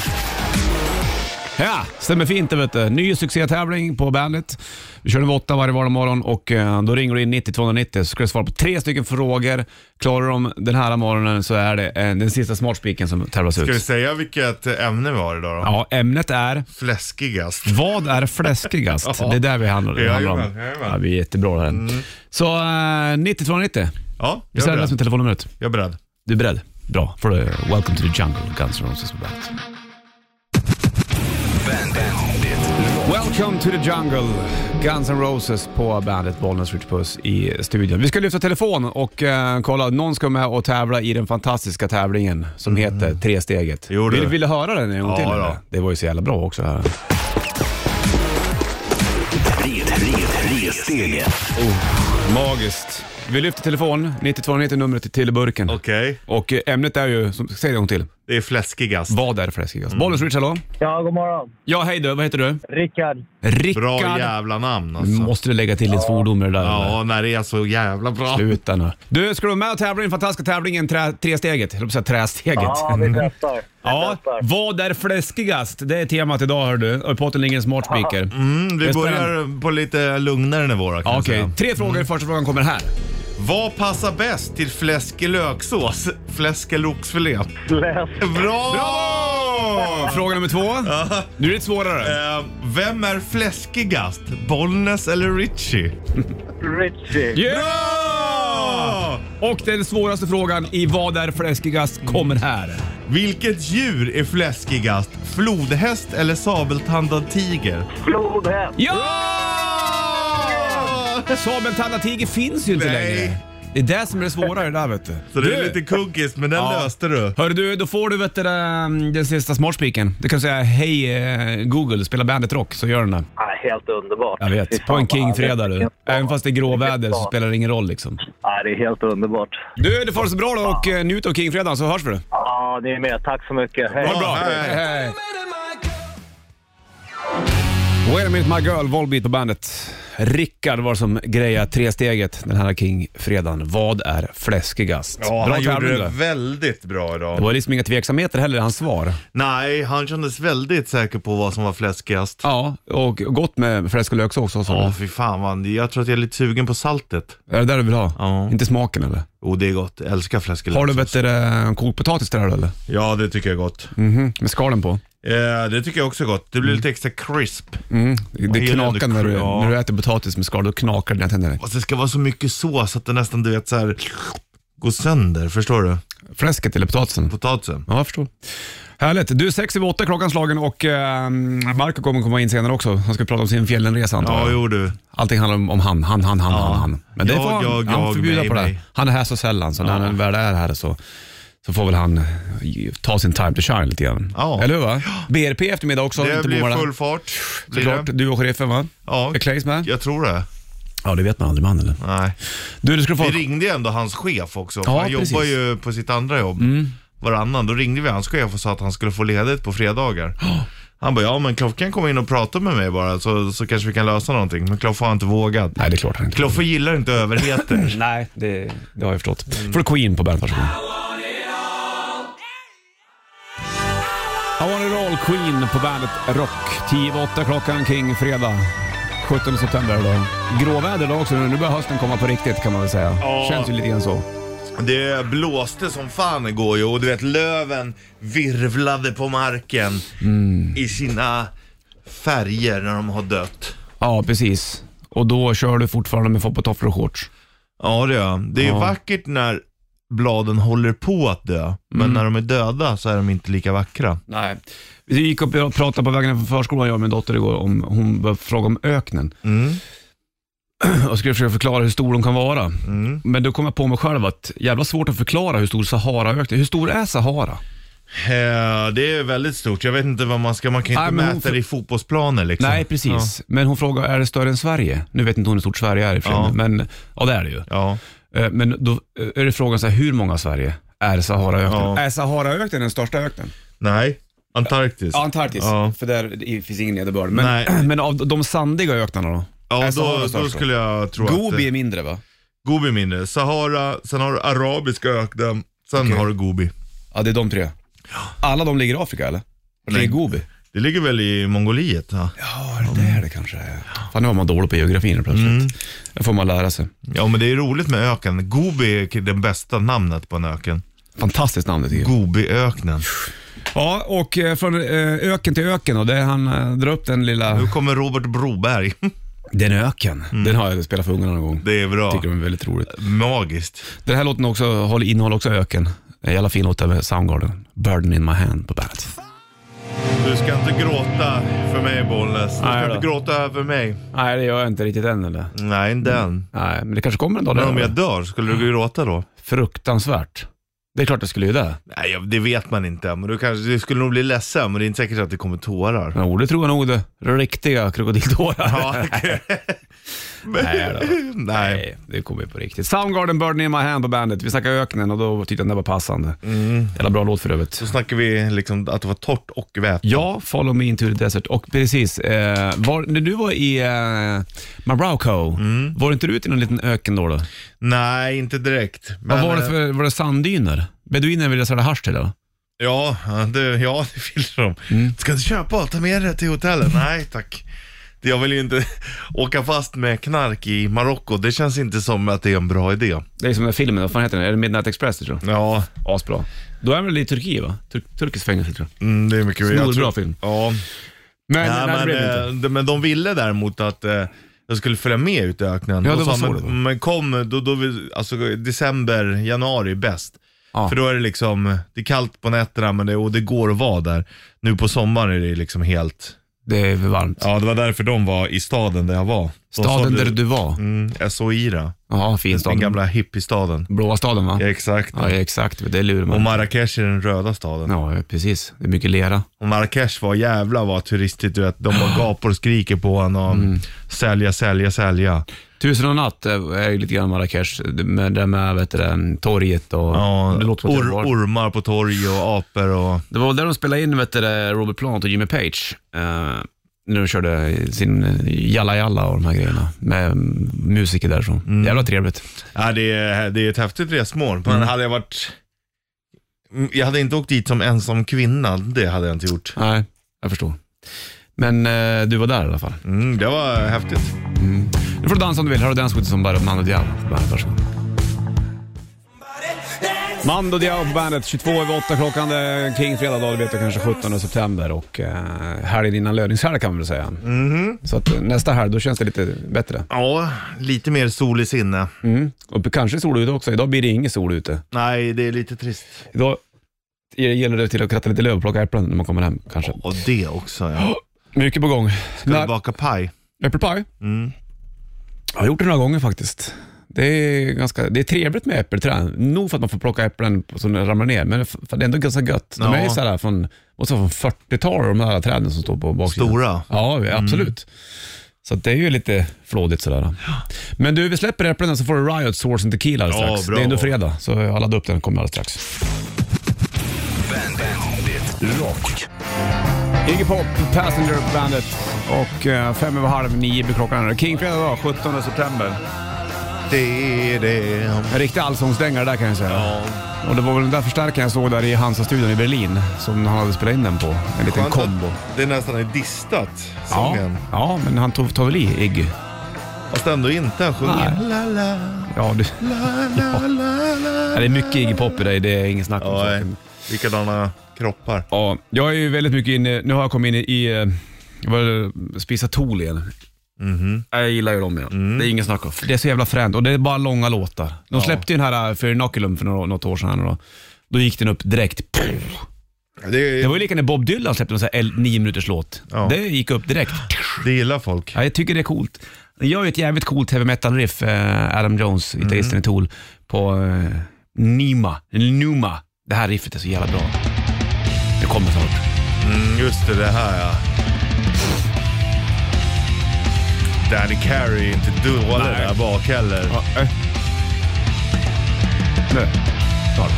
Speaker 2: Ja, stämmer fint det vet du. Ny succétävling på Bandit. Vi kör den vid åtta varje vardagsmorgon och eh, då ringer du in 90 290 så ska du svara på tre stycken frågor. Klarar du dem den här morgonen så är det eh, den sista smartspiken som tävlas
Speaker 3: Ska vi
Speaker 2: ut.
Speaker 3: säga vilket ämne vi har idag då?
Speaker 2: Ja, Mm. ämnet är
Speaker 3: Fläskigast.
Speaker 2: Vad är fläskigast?
Speaker 3: Ja.
Speaker 2: Det är där vi handlar, det handlar om.
Speaker 3: Jajamän, jajamän. Mm.
Speaker 2: Ja, vi är jättebra där. Så eh, 90 290.
Speaker 3: Ja,
Speaker 2: Vi
Speaker 3: jag är
Speaker 2: säger det som
Speaker 3: beredd.
Speaker 2: telefonnumret.
Speaker 3: Jag är beredd.
Speaker 2: Du är beredd? Bra. Får du Welcome to the Jungle, Guns N' Roses på bandet. Welcome to the jungle, Guns N' Roses på bandet Bollnäs Rich Puss i studion. Vi ska lyfta telefon och eh, kolla, någon ska med och tävla i den fantastiska tävlingen som heter Tresteget.
Speaker 3: Mm. Jo, du.
Speaker 2: Vill, vill du höra den en gång
Speaker 3: Ja,
Speaker 2: till?
Speaker 3: då.
Speaker 2: eller? Det var ju så jävla bra också. Här.
Speaker 5: Red, red, ressteget.
Speaker 3: Oh,
Speaker 2: Magiskt. Vi lyfter telefon, 9290 numret till Teleburken.
Speaker 3: Okej,
Speaker 2: Och eh, ämnet är ju, som, säg det en gång till,
Speaker 3: det är fläskigast.
Speaker 2: vad är det för läskigast?
Speaker 3: Mm.
Speaker 2: Bollnäs Rich, hallå?
Speaker 7: Ja, god morgon.
Speaker 2: Ja, hej du, vad heter du?
Speaker 7: Rickard.
Speaker 2: Rickard.
Speaker 3: Bra jävla namn
Speaker 2: Nu
Speaker 3: alltså.
Speaker 2: måste du lägga till din svordom i det där. eller?
Speaker 3: Ja, när det är så jävla bra.
Speaker 2: Sluta nu. Du, ska du vara med och tävla i den fantastiska tävlingen trä, Tresteget? Jag höll på att säga Trästeget.
Speaker 7: Ja, vi testar. Vi
Speaker 2: Ja,
Speaker 7: testar.
Speaker 2: vad är fläskigast? Det är temat idag hör du. Och i potten ligger en smart speaker.
Speaker 3: Mm,
Speaker 2: Det är
Speaker 3: vi börjar på lite lugnare nivå då,
Speaker 2: Ja,
Speaker 3: kan jag
Speaker 2: Okej,
Speaker 3: säga.
Speaker 2: tre frågor.
Speaker 3: Mm.
Speaker 2: Första frågan kommer här.
Speaker 3: Vad passar bäst till fläsk i löksås? Fläsk eller oxfilé?
Speaker 7: Läs.
Speaker 3: Bra!
Speaker 2: Fråga nummer två. Nu är det lite svårare.
Speaker 3: Eh, vem är fläskigast? Bollnäs eller Richie?
Speaker 7: Richie.
Speaker 3: Bra!
Speaker 2: Och den svåraste frågan i vad är fläskigast kommer här.
Speaker 3: Vilket djur är fläskigast? Flodhäst eller sabeltandad tiger?
Speaker 7: Flodhäst.
Speaker 2: Ja! Sabeltandad tiger finns ju inte
Speaker 3: Mm. Nej.
Speaker 2: längre. Det är det som är det svåra i det där vet du.
Speaker 3: Så det är
Speaker 2: Du,
Speaker 3: lite kuggis, men den
Speaker 2: Ja.
Speaker 3: löste du.
Speaker 2: Hör du, då får du vet du, den den sista smartspiken. Du kan säga hej eh, Google, spela bandet rock så gör den det.
Speaker 7: Ja, helt underbart.
Speaker 2: Jag
Speaker 7: Fy
Speaker 2: vet,
Speaker 7: fan,
Speaker 2: på en
Speaker 7: vad
Speaker 2: King-fredag du.
Speaker 7: härligt.
Speaker 2: Även fast det är gråväder så
Speaker 7: Ja.
Speaker 2: spelar det ingen roll liksom.
Speaker 7: Ja, det är helt underbart.
Speaker 2: Du, det får det så bra då och eh, njut av King-fredagen så hörs vi.
Speaker 7: Ja, ni är med. Tack så mycket. Hej.
Speaker 2: Ha det bra.
Speaker 3: Ja, hej.
Speaker 2: Hej. Wait a minute my girl, Volbeat på bandet. Rickard var som grejade tresteget den här King-fredagen. Vad är fläskigast?
Speaker 3: Ja,
Speaker 2: bra
Speaker 3: han gjorde
Speaker 2: tävling
Speaker 3: det
Speaker 2: du.
Speaker 3: väldigt bra idag.
Speaker 2: Det var liksom inga tveksamheter heller i hans svar.
Speaker 3: Mm. Nej, han kändes väldigt säker på vad som var fläskigast.
Speaker 2: Ja, och gott med fläsk och löksås också. sa
Speaker 3: Ja, fy fan. Man. Jag tror att jag är lite sugen på saltet.
Speaker 2: du. Är det där du vill ha?
Speaker 3: Ja.
Speaker 2: Inte smaken eller?
Speaker 3: Oh, det är gott. Jag älskar fläsk i
Speaker 2: Har du
Speaker 3: löksås.
Speaker 2: vet du, det, kokt potatis till det här eller?
Speaker 3: Ja, det tycker jag är gott.
Speaker 2: Mhm, med skalen på.
Speaker 3: Eh, det tycker jag också är gott. Det blir lite extra crisp.
Speaker 2: Det,
Speaker 3: gillar
Speaker 2: knakar
Speaker 3: ändå
Speaker 2: när du,
Speaker 3: kru- ja.
Speaker 2: när du äter potatis med skal, då knakar det i dina tänder.
Speaker 3: Och det ska vara så mycket sås att det nästan, du vet, så här går sönder. Förstår du?
Speaker 2: Fläsket eller potatisen?
Speaker 3: Potatisen.
Speaker 2: Ja, jag förstår. Härligt. Du, sex över åtta klockan slagen och eh, Marco kommer komma in senare också. Han ska prata om sin fjällenresa antar
Speaker 3: Ja,
Speaker 2: jag.
Speaker 3: jo du.
Speaker 2: Allting handlar om, om han, han, han, han, han, han. Men det
Speaker 3: Jag,
Speaker 2: får han,
Speaker 3: jag,
Speaker 2: han
Speaker 3: jag,
Speaker 2: får bjuda
Speaker 3: mig,
Speaker 2: på det.
Speaker 3: mig.
Speaker 2: Han är här så sällan, så när han väl är här så, så får väl han eh, ta sin time to shine lite grann.
Speaker 3: Ja.
Speaker 2: Eller hur? Va? BRP i eftermiddag också.
Speaker 3: Det
Speaker 2: inte
Speaker 3: blir
Speaker 2: Mora.
Speaker 3: full fart. Blir det?
Speaker 2: Såklart, du och sheriffen va?
Speaker 3: Ja,
Speaker 2: Är Claes med?
Speaker 3: jag tror det.
Speaker 2: Ja, det vet man aldrig man eller?
Speaker 3: Nej.
Speaker 2: Du, du skulle få...
Speaker 3: Vi ringde ju ändå hans chef också.
Speaker 2: Ja,
Speaker 3: han
Speaker 2: precis. Mm.
Speaker 3: jobbar ju på sitt andra jobb varannan. Då ringde vi hans chef och sa att han skulle få ledigt på fredagar. Han bara, ja men Kloff kan komma in och prata med mig bara så, så kanske vi kan lösa någonting. Men Kloff har inte vågat.
Speaker 2: Nej, det är klart han inte
Speaker 3: Kloffe gillar inte överheter.
Speaker 2: Nej, det, det har jag förstått. Får du Queen på bandet, varsågod. I want it all, Queen på bandet Rock. 10 över åtta klockan kring fredag. 17 september idag. Gråväder idag också, nu börjar hösten komma på riktigt kan man väl säga. Känns ju lite grann så.
Speaker 3: Det blåste som fan igår ju och du vet löven virvlade på marken
Speaker 2: Mm.
Speaker 3: i sina färger när de har dött.
Speaker 2: Ja, precis. Och då kör du fortfarande med foppatofflor och shorts.
Speaker 3: Ja det gör jag. Det är
Speaker 2: Ja.
Speaker 3: vackert när bladen håller på att dö, men när de är döda så är de inte lika vackra.
Speaker 2: Nej. Vi gick och pratade på vägen från förskolan, jag och min dotter igår, om, hon började fråga om öknen.
Speaker 3: Mm.
Speaker 2: Jag skulle försöka förklara hur stor de kan vara.
Speaker 3: Mm.
Speaker 2: Men då kom jag på mig själv att jävla svårt att förklara hur stor Saharaöknen är. Hur stor är Sahara?
Speaker 3: Eh, det är väldigt stort. Jag vet inte vad man ska, man kan ju
Speaker 2: Nej,
Speaker 3: inte
Speaker 2: men hon
Speaker 3: mäta
Speaker 2: för-
Speaker 3: det i fotbollsplaner liksom.
Speaker 2: Nej, precis. Men hon frågade, är det större än Sverige? Nu vet inte hon hur stort Sverige är i och för sig,
Speaker 3: Ja.
Speaker 2: men ja det är det ju.
Speaker 3: Ja.
Speaker 2: Eh, Men då eh, är det frågan så här, hur många Sverige är Saharaöknen?
Speaker 3: Ja.
Speaker 2: Är Saharaöknen den största öknen?
Speaker 3: Nej. Antarktis.
Speaker 2: Antarktis,
Speaker 3: Ja.
Speaker 2: för där i- finns ingen nederbörd. Men,
Speaker 3: Nej.
Speaker 2: men av de sandiga öknarna då?
Speaker 3: Ja,
Speaker 2: Äh,
Speaker 3: då,
Speaker 2: Sahara
Speaker 3: då
Speaker 2: snart,
Speaker 3: skulle jag tro att...
Speaker 2: Gobi
Speaker 3: det-
Speaker 2: är mindre va?
Speaker 3: Gobi är mindre. Sahara, sen har du arabiska öknen, sen
Speaker 2: Okej.
Speaker 3: har du Gobi.
Speaker 2: Ja, det är de tre. Alla de ligger i Afrika eller? Vart ligger Gobi?
Speaker 3: Det ligger väl i Mongoliet? Ja,
Speaker 2: Ja, det där är det kanske är. Fan, nu var man dålig på geografin helt plötsligt. Det får man lära sig.
Speaker 3: ja men det är roligt med öken. Gobi är det bästa namnet på en öken.
Speaker 2: Fantastiskt namn det tycker jag.
Speaker 3: Gobiöknen.
Speaker 2: Ja, och eh, från eh, öken till öken och det han eh, drar upp den
Speaker 3: Nu
Speaker 2: lilla...
Speaker 3: kommer Robert Broberg.
Speaker 2: Den öken. Den har jag spelat för ungarna någon gång.
Speaker 3: Det är bra.
Speaker 2: Tycker de är väldigt roligt.
Speaker 3: Magiskt.
Speaker 2: Den här låten också, håll- innehåller också öken. En jävla fin låt där med Soundgarden. Burden in my hand på bandet.
Speaker 3: Du ska inte gråta för mig Bollnäs. Du
Speaker 2: Nej
Speaker 3: ska
Speaker 2: då.
Speaker 3: inte gråta för mig.
Speaker 2: Nej, det gör jag inte riktigt än eller?
Speaker 3: Nej, inte än.
Speaker 2: Nej, men det Mm. kanske kommer en dag.
Speaker 3: Men
Speaker 2: Där,
Speaker 3: om jag
Speaker 2: eller?
Speaker 3: dör, skulle du gråta då?
Speaker 2: Fruktansvärt. Det är klart det skulle ju det.
Speaker 3: Nej, jag- det vet man inte. Men du, kanske, du skulle nog bli ledsen, men det är inte säkert att det kommer tårar.
Speaker 2: Jo, det tror jag nog det. Riktiga krokodiltårar.
Speaker 3: Ja, okej.
Speaker 2: Nej då.
Speaker 3: Nej.
Speaker 2: Nej, det kommer ju på riktigt. Soundgarden, Burden in my hand på bandet. Vi snackade öknen och då tyckte jag den där var passande.
Speaker 3: Mm.
Speaker 2: Jävla bra låt för övrigt.
Speaker 3: Då snackar vi liksom att det var torrt och väte.
Speaker 2: Ja, Follow Me Into the Desert. Och precis, eh, var, när du var i eh, Marocko,
Speaker 3: Mm.
Speaker 2: var inte du ute i någon liten öken då? då?
Speaker 3: Nej, inte direkt.
Speaker 2: Vad
Speaker 3: Men,
Speaker 2: var det
Speaker 3: eh,
Speaker 2: för var det sanddyner? Beduiner ville sälja hasch till eller?
Speaker 3: Ja, det, ja, det fyller de.
Speaker 2: Mm.
Speaker 3: Ska du köpa och ta med det till hotellet? Nej, tack. Jag vill ju inte åka fast med knark i Marocko. Det känns inte som att det är en bra idé.
Speaker 2: Det är som den här filmen, vad fan heter den? Är det Midnight Express tror jag?
Speaker 3: Ja,
Speaker 2: Asbra. Då är han väl i Turkiet va? Tur turkiskt fängelse tror jag.
Speaker 3: mm, det är mycket jag
Speaker 2: Snorbra
Speaker 3: tror-
Speaker 2: film.
Speaker 3: Ja,
Speaker 2: Men, nej,
Speaker 3: Nej,
Speaker 2: det
Speaker 3: men,
Speaker 2: blev det
Speaker 3: eh,
Speaker 2: inte.
Speaker 3: de, men de ville däremot att eh, jag skulle följa med ut i öknen.
Speaker 2: Ja,
Speaker 3: Då
Speaker 2: det var
Speaker 3: sa,
Speaker 2: så det
Speaker 3: men,
Speaker 2: var.
Speaker 3: men kom, då, då, vi- alltså, december, januari är bäst.
Speaker 2: Ja.
Speaker 3: För då är det liksom, det är kallt på nätterna men det, och det går att vara där. Nu på sommaren är det liksom helt...
Speaker 2: Det är för varmt.
Speaker 3: Ja, det var därför de var i staden där jag var. De
Speaker 2: Staden
Speaker 3: sålde-
Speaker 2: där du var.
Speaker 3: Mm, Essaouira.
Speaker 2: Ja, fin stad.
Speaker 3: Den gamla hippiestaden.
Speaker 2: Blåa staden va?
Speaker 3: Ja, exakt.
Speaker 2: Ja, exakt. Det är
Speaker 3: Och
Speaker 2: Lurman.
Speaker 3: Marrakesh är den röda staden.
Speaker 2: Ja, precis. Det är mycket lera.
Speaker 3: Och Marrakesh var jävla vad turistigt du vet. De bara gapar och skriker på en och
Speaker 2: Mm.
Speaker 3: sälja, sälja, sälja.
Speaker 2: Tusen och en natt eh, är ju lite grann Marrakesh. Det med, det med vet du, det, torget och...
Speaker 3: Ja,
Speaker 2: det låter som att
Speaker 3: or,
Speaker 2: jag var-
Speaker 3: ormar på torg och apor och...
Speaker 2: Det var väl där de spelade in vet du, det, Robert Plant och Jimmy Page. Eh, när de körde sin eh, Jalla Jalla och de här grejerna med mm, musiker därifrån.
Speaker 3: Mm.
Speaker 2: Jävla trevligt.
Speaker 3: Ja, det, är, det är ett häftigt resmål. Men
Speaker 2: Mm.
Speaker 3: hade jag varit... Mm, Jag hade inte åkt dit som ensam kvinna, det hade jag inte gjort.
Speaker 2: Nej, jag förstår. Men eh, du var där i alla fall.
Speaker 3: Mm, det var häftigt.
Speaker 2: Nu får du dansa om du vill. Här har du Dance with som bara Mando Diao på bandet. Varsågod. Mando Diao på bandet. 22 över 8 klockan. Det är kring fredag dag, det vet jag, kanske 17 september. Och eh, helgen innan löningshelg kan man väl säga. Så att eh, nästa helg, då känns det lite bättre. Mm.
Speaker 3: Ja, lite mer sol i sinne.
Speaker 2: Och kanske sol ute också. Idag blir det ingen sol ute.
Speaker 3: Nej, det är lite trist.
Speaker 2: Idag gäller det till att kratta lite löv och plocka äpplen när man kommer hem kanske.
Speaker 3: Och det också ja.
Speaker 2: Mycket på gång.
Speaker 3: Ska
Speaker 2: När-
Speaker 3: du baka paj?
Speaker 2: Äppelpaj?
Speaker 3: Mm.
Speaker 2: Jag har gjort det några gånger faktiskt. Det är, ganska, det är trevligt med äppelträd. Nog för att man får plocka äpplen som ramlar ner, men f- för det är ändå ganska gött. De
Speaker 3: Ja.
Speaker 2: är ju så här från, måste vara från 40-talet, de här träden som står på baksidan.
Speaker 3: Stora.
Speaker 2: Ja, absolut. Så att det är ju lite flådigt sådär. Men du, vi släpper äpplena så får du Riot Source and Tequila alldeles
Speaker 3: Ja,
Speaker 2: strax.
Speaker 3: bra.
Speaker 2: Det är ändå fredag, så jag laddar upp den kommer alldeles strax.
Speaker 1: Rock.
Speaker 2: Iggy Pop, Passenger på bandet. Och eh, fem över halv nio blir klockan. Kingfredag dag, 17 september.
Speaker 3: Det är det.
Speaker 2: En riktig allsångsdängare där kan jag säga.
Speaker 3: Ja.
Speaker 2: Och det var väl den där förstärkaren jag såg där i Hansa-studion i Berlin som han hade spelat in den på. En liten
Speaker 3: Skönt
Speaker 2: kombo.
Speaker 3: att Det är nästan är distat,
Speaker 2: Ja,
Speaker 3: sången.
Speaker 2: ja, men han tog, tog väl i Iggy.
Speaker 3: Fast ändå inte. Han sjunger
Speaker 2: Nej.
Speaker 3: la la,
Speaker 2: Ja, du,
Speaker 3: la la la la.
Speaker 2: det är mycket Iggy Pop i dig, det är inget snack om
Speaker 3: Ja, eh,
Speaker 2: saken.
Speaker 3: likadana kroppar.
Speaker 2: Ja, jag är ju väldigt mycket inne, nu har jag kommit in i, eh, vad är det, spisa tol igen. Jag gillar ju dem ja. Det är ingen snack om. Det är så jävla fränt och det är bara långa låtar. De släppte ju den här eh, för Inoculum för några- något år sedan. Då, då gick den upp direkt. Pff.
Speaker 3: Det,
Speaker 2: Det var ju lika när Bob Dylan släppte en sån här el- nio minuters låt.
Speaker 3: Ja.
Speaker 2: Det gick upp direkt.
Speaker 3: det gillar folk.
Speaker 2: Ja, jag tycker det är coolt. Han gör ju ett jävligt coolt heavy metal-riff, eh, Adam Jones, gitarristen i Tool, på eh, Nima, Numa. Det här riffet är så jävla bra. Det kommer snart.
Speaker 3: Mm, just det, det här ja. Danny Carey är inte dålig
Speaker 2: Nej.
Speaker 3: där bak heller.
Speaker 2: Nu. Snart.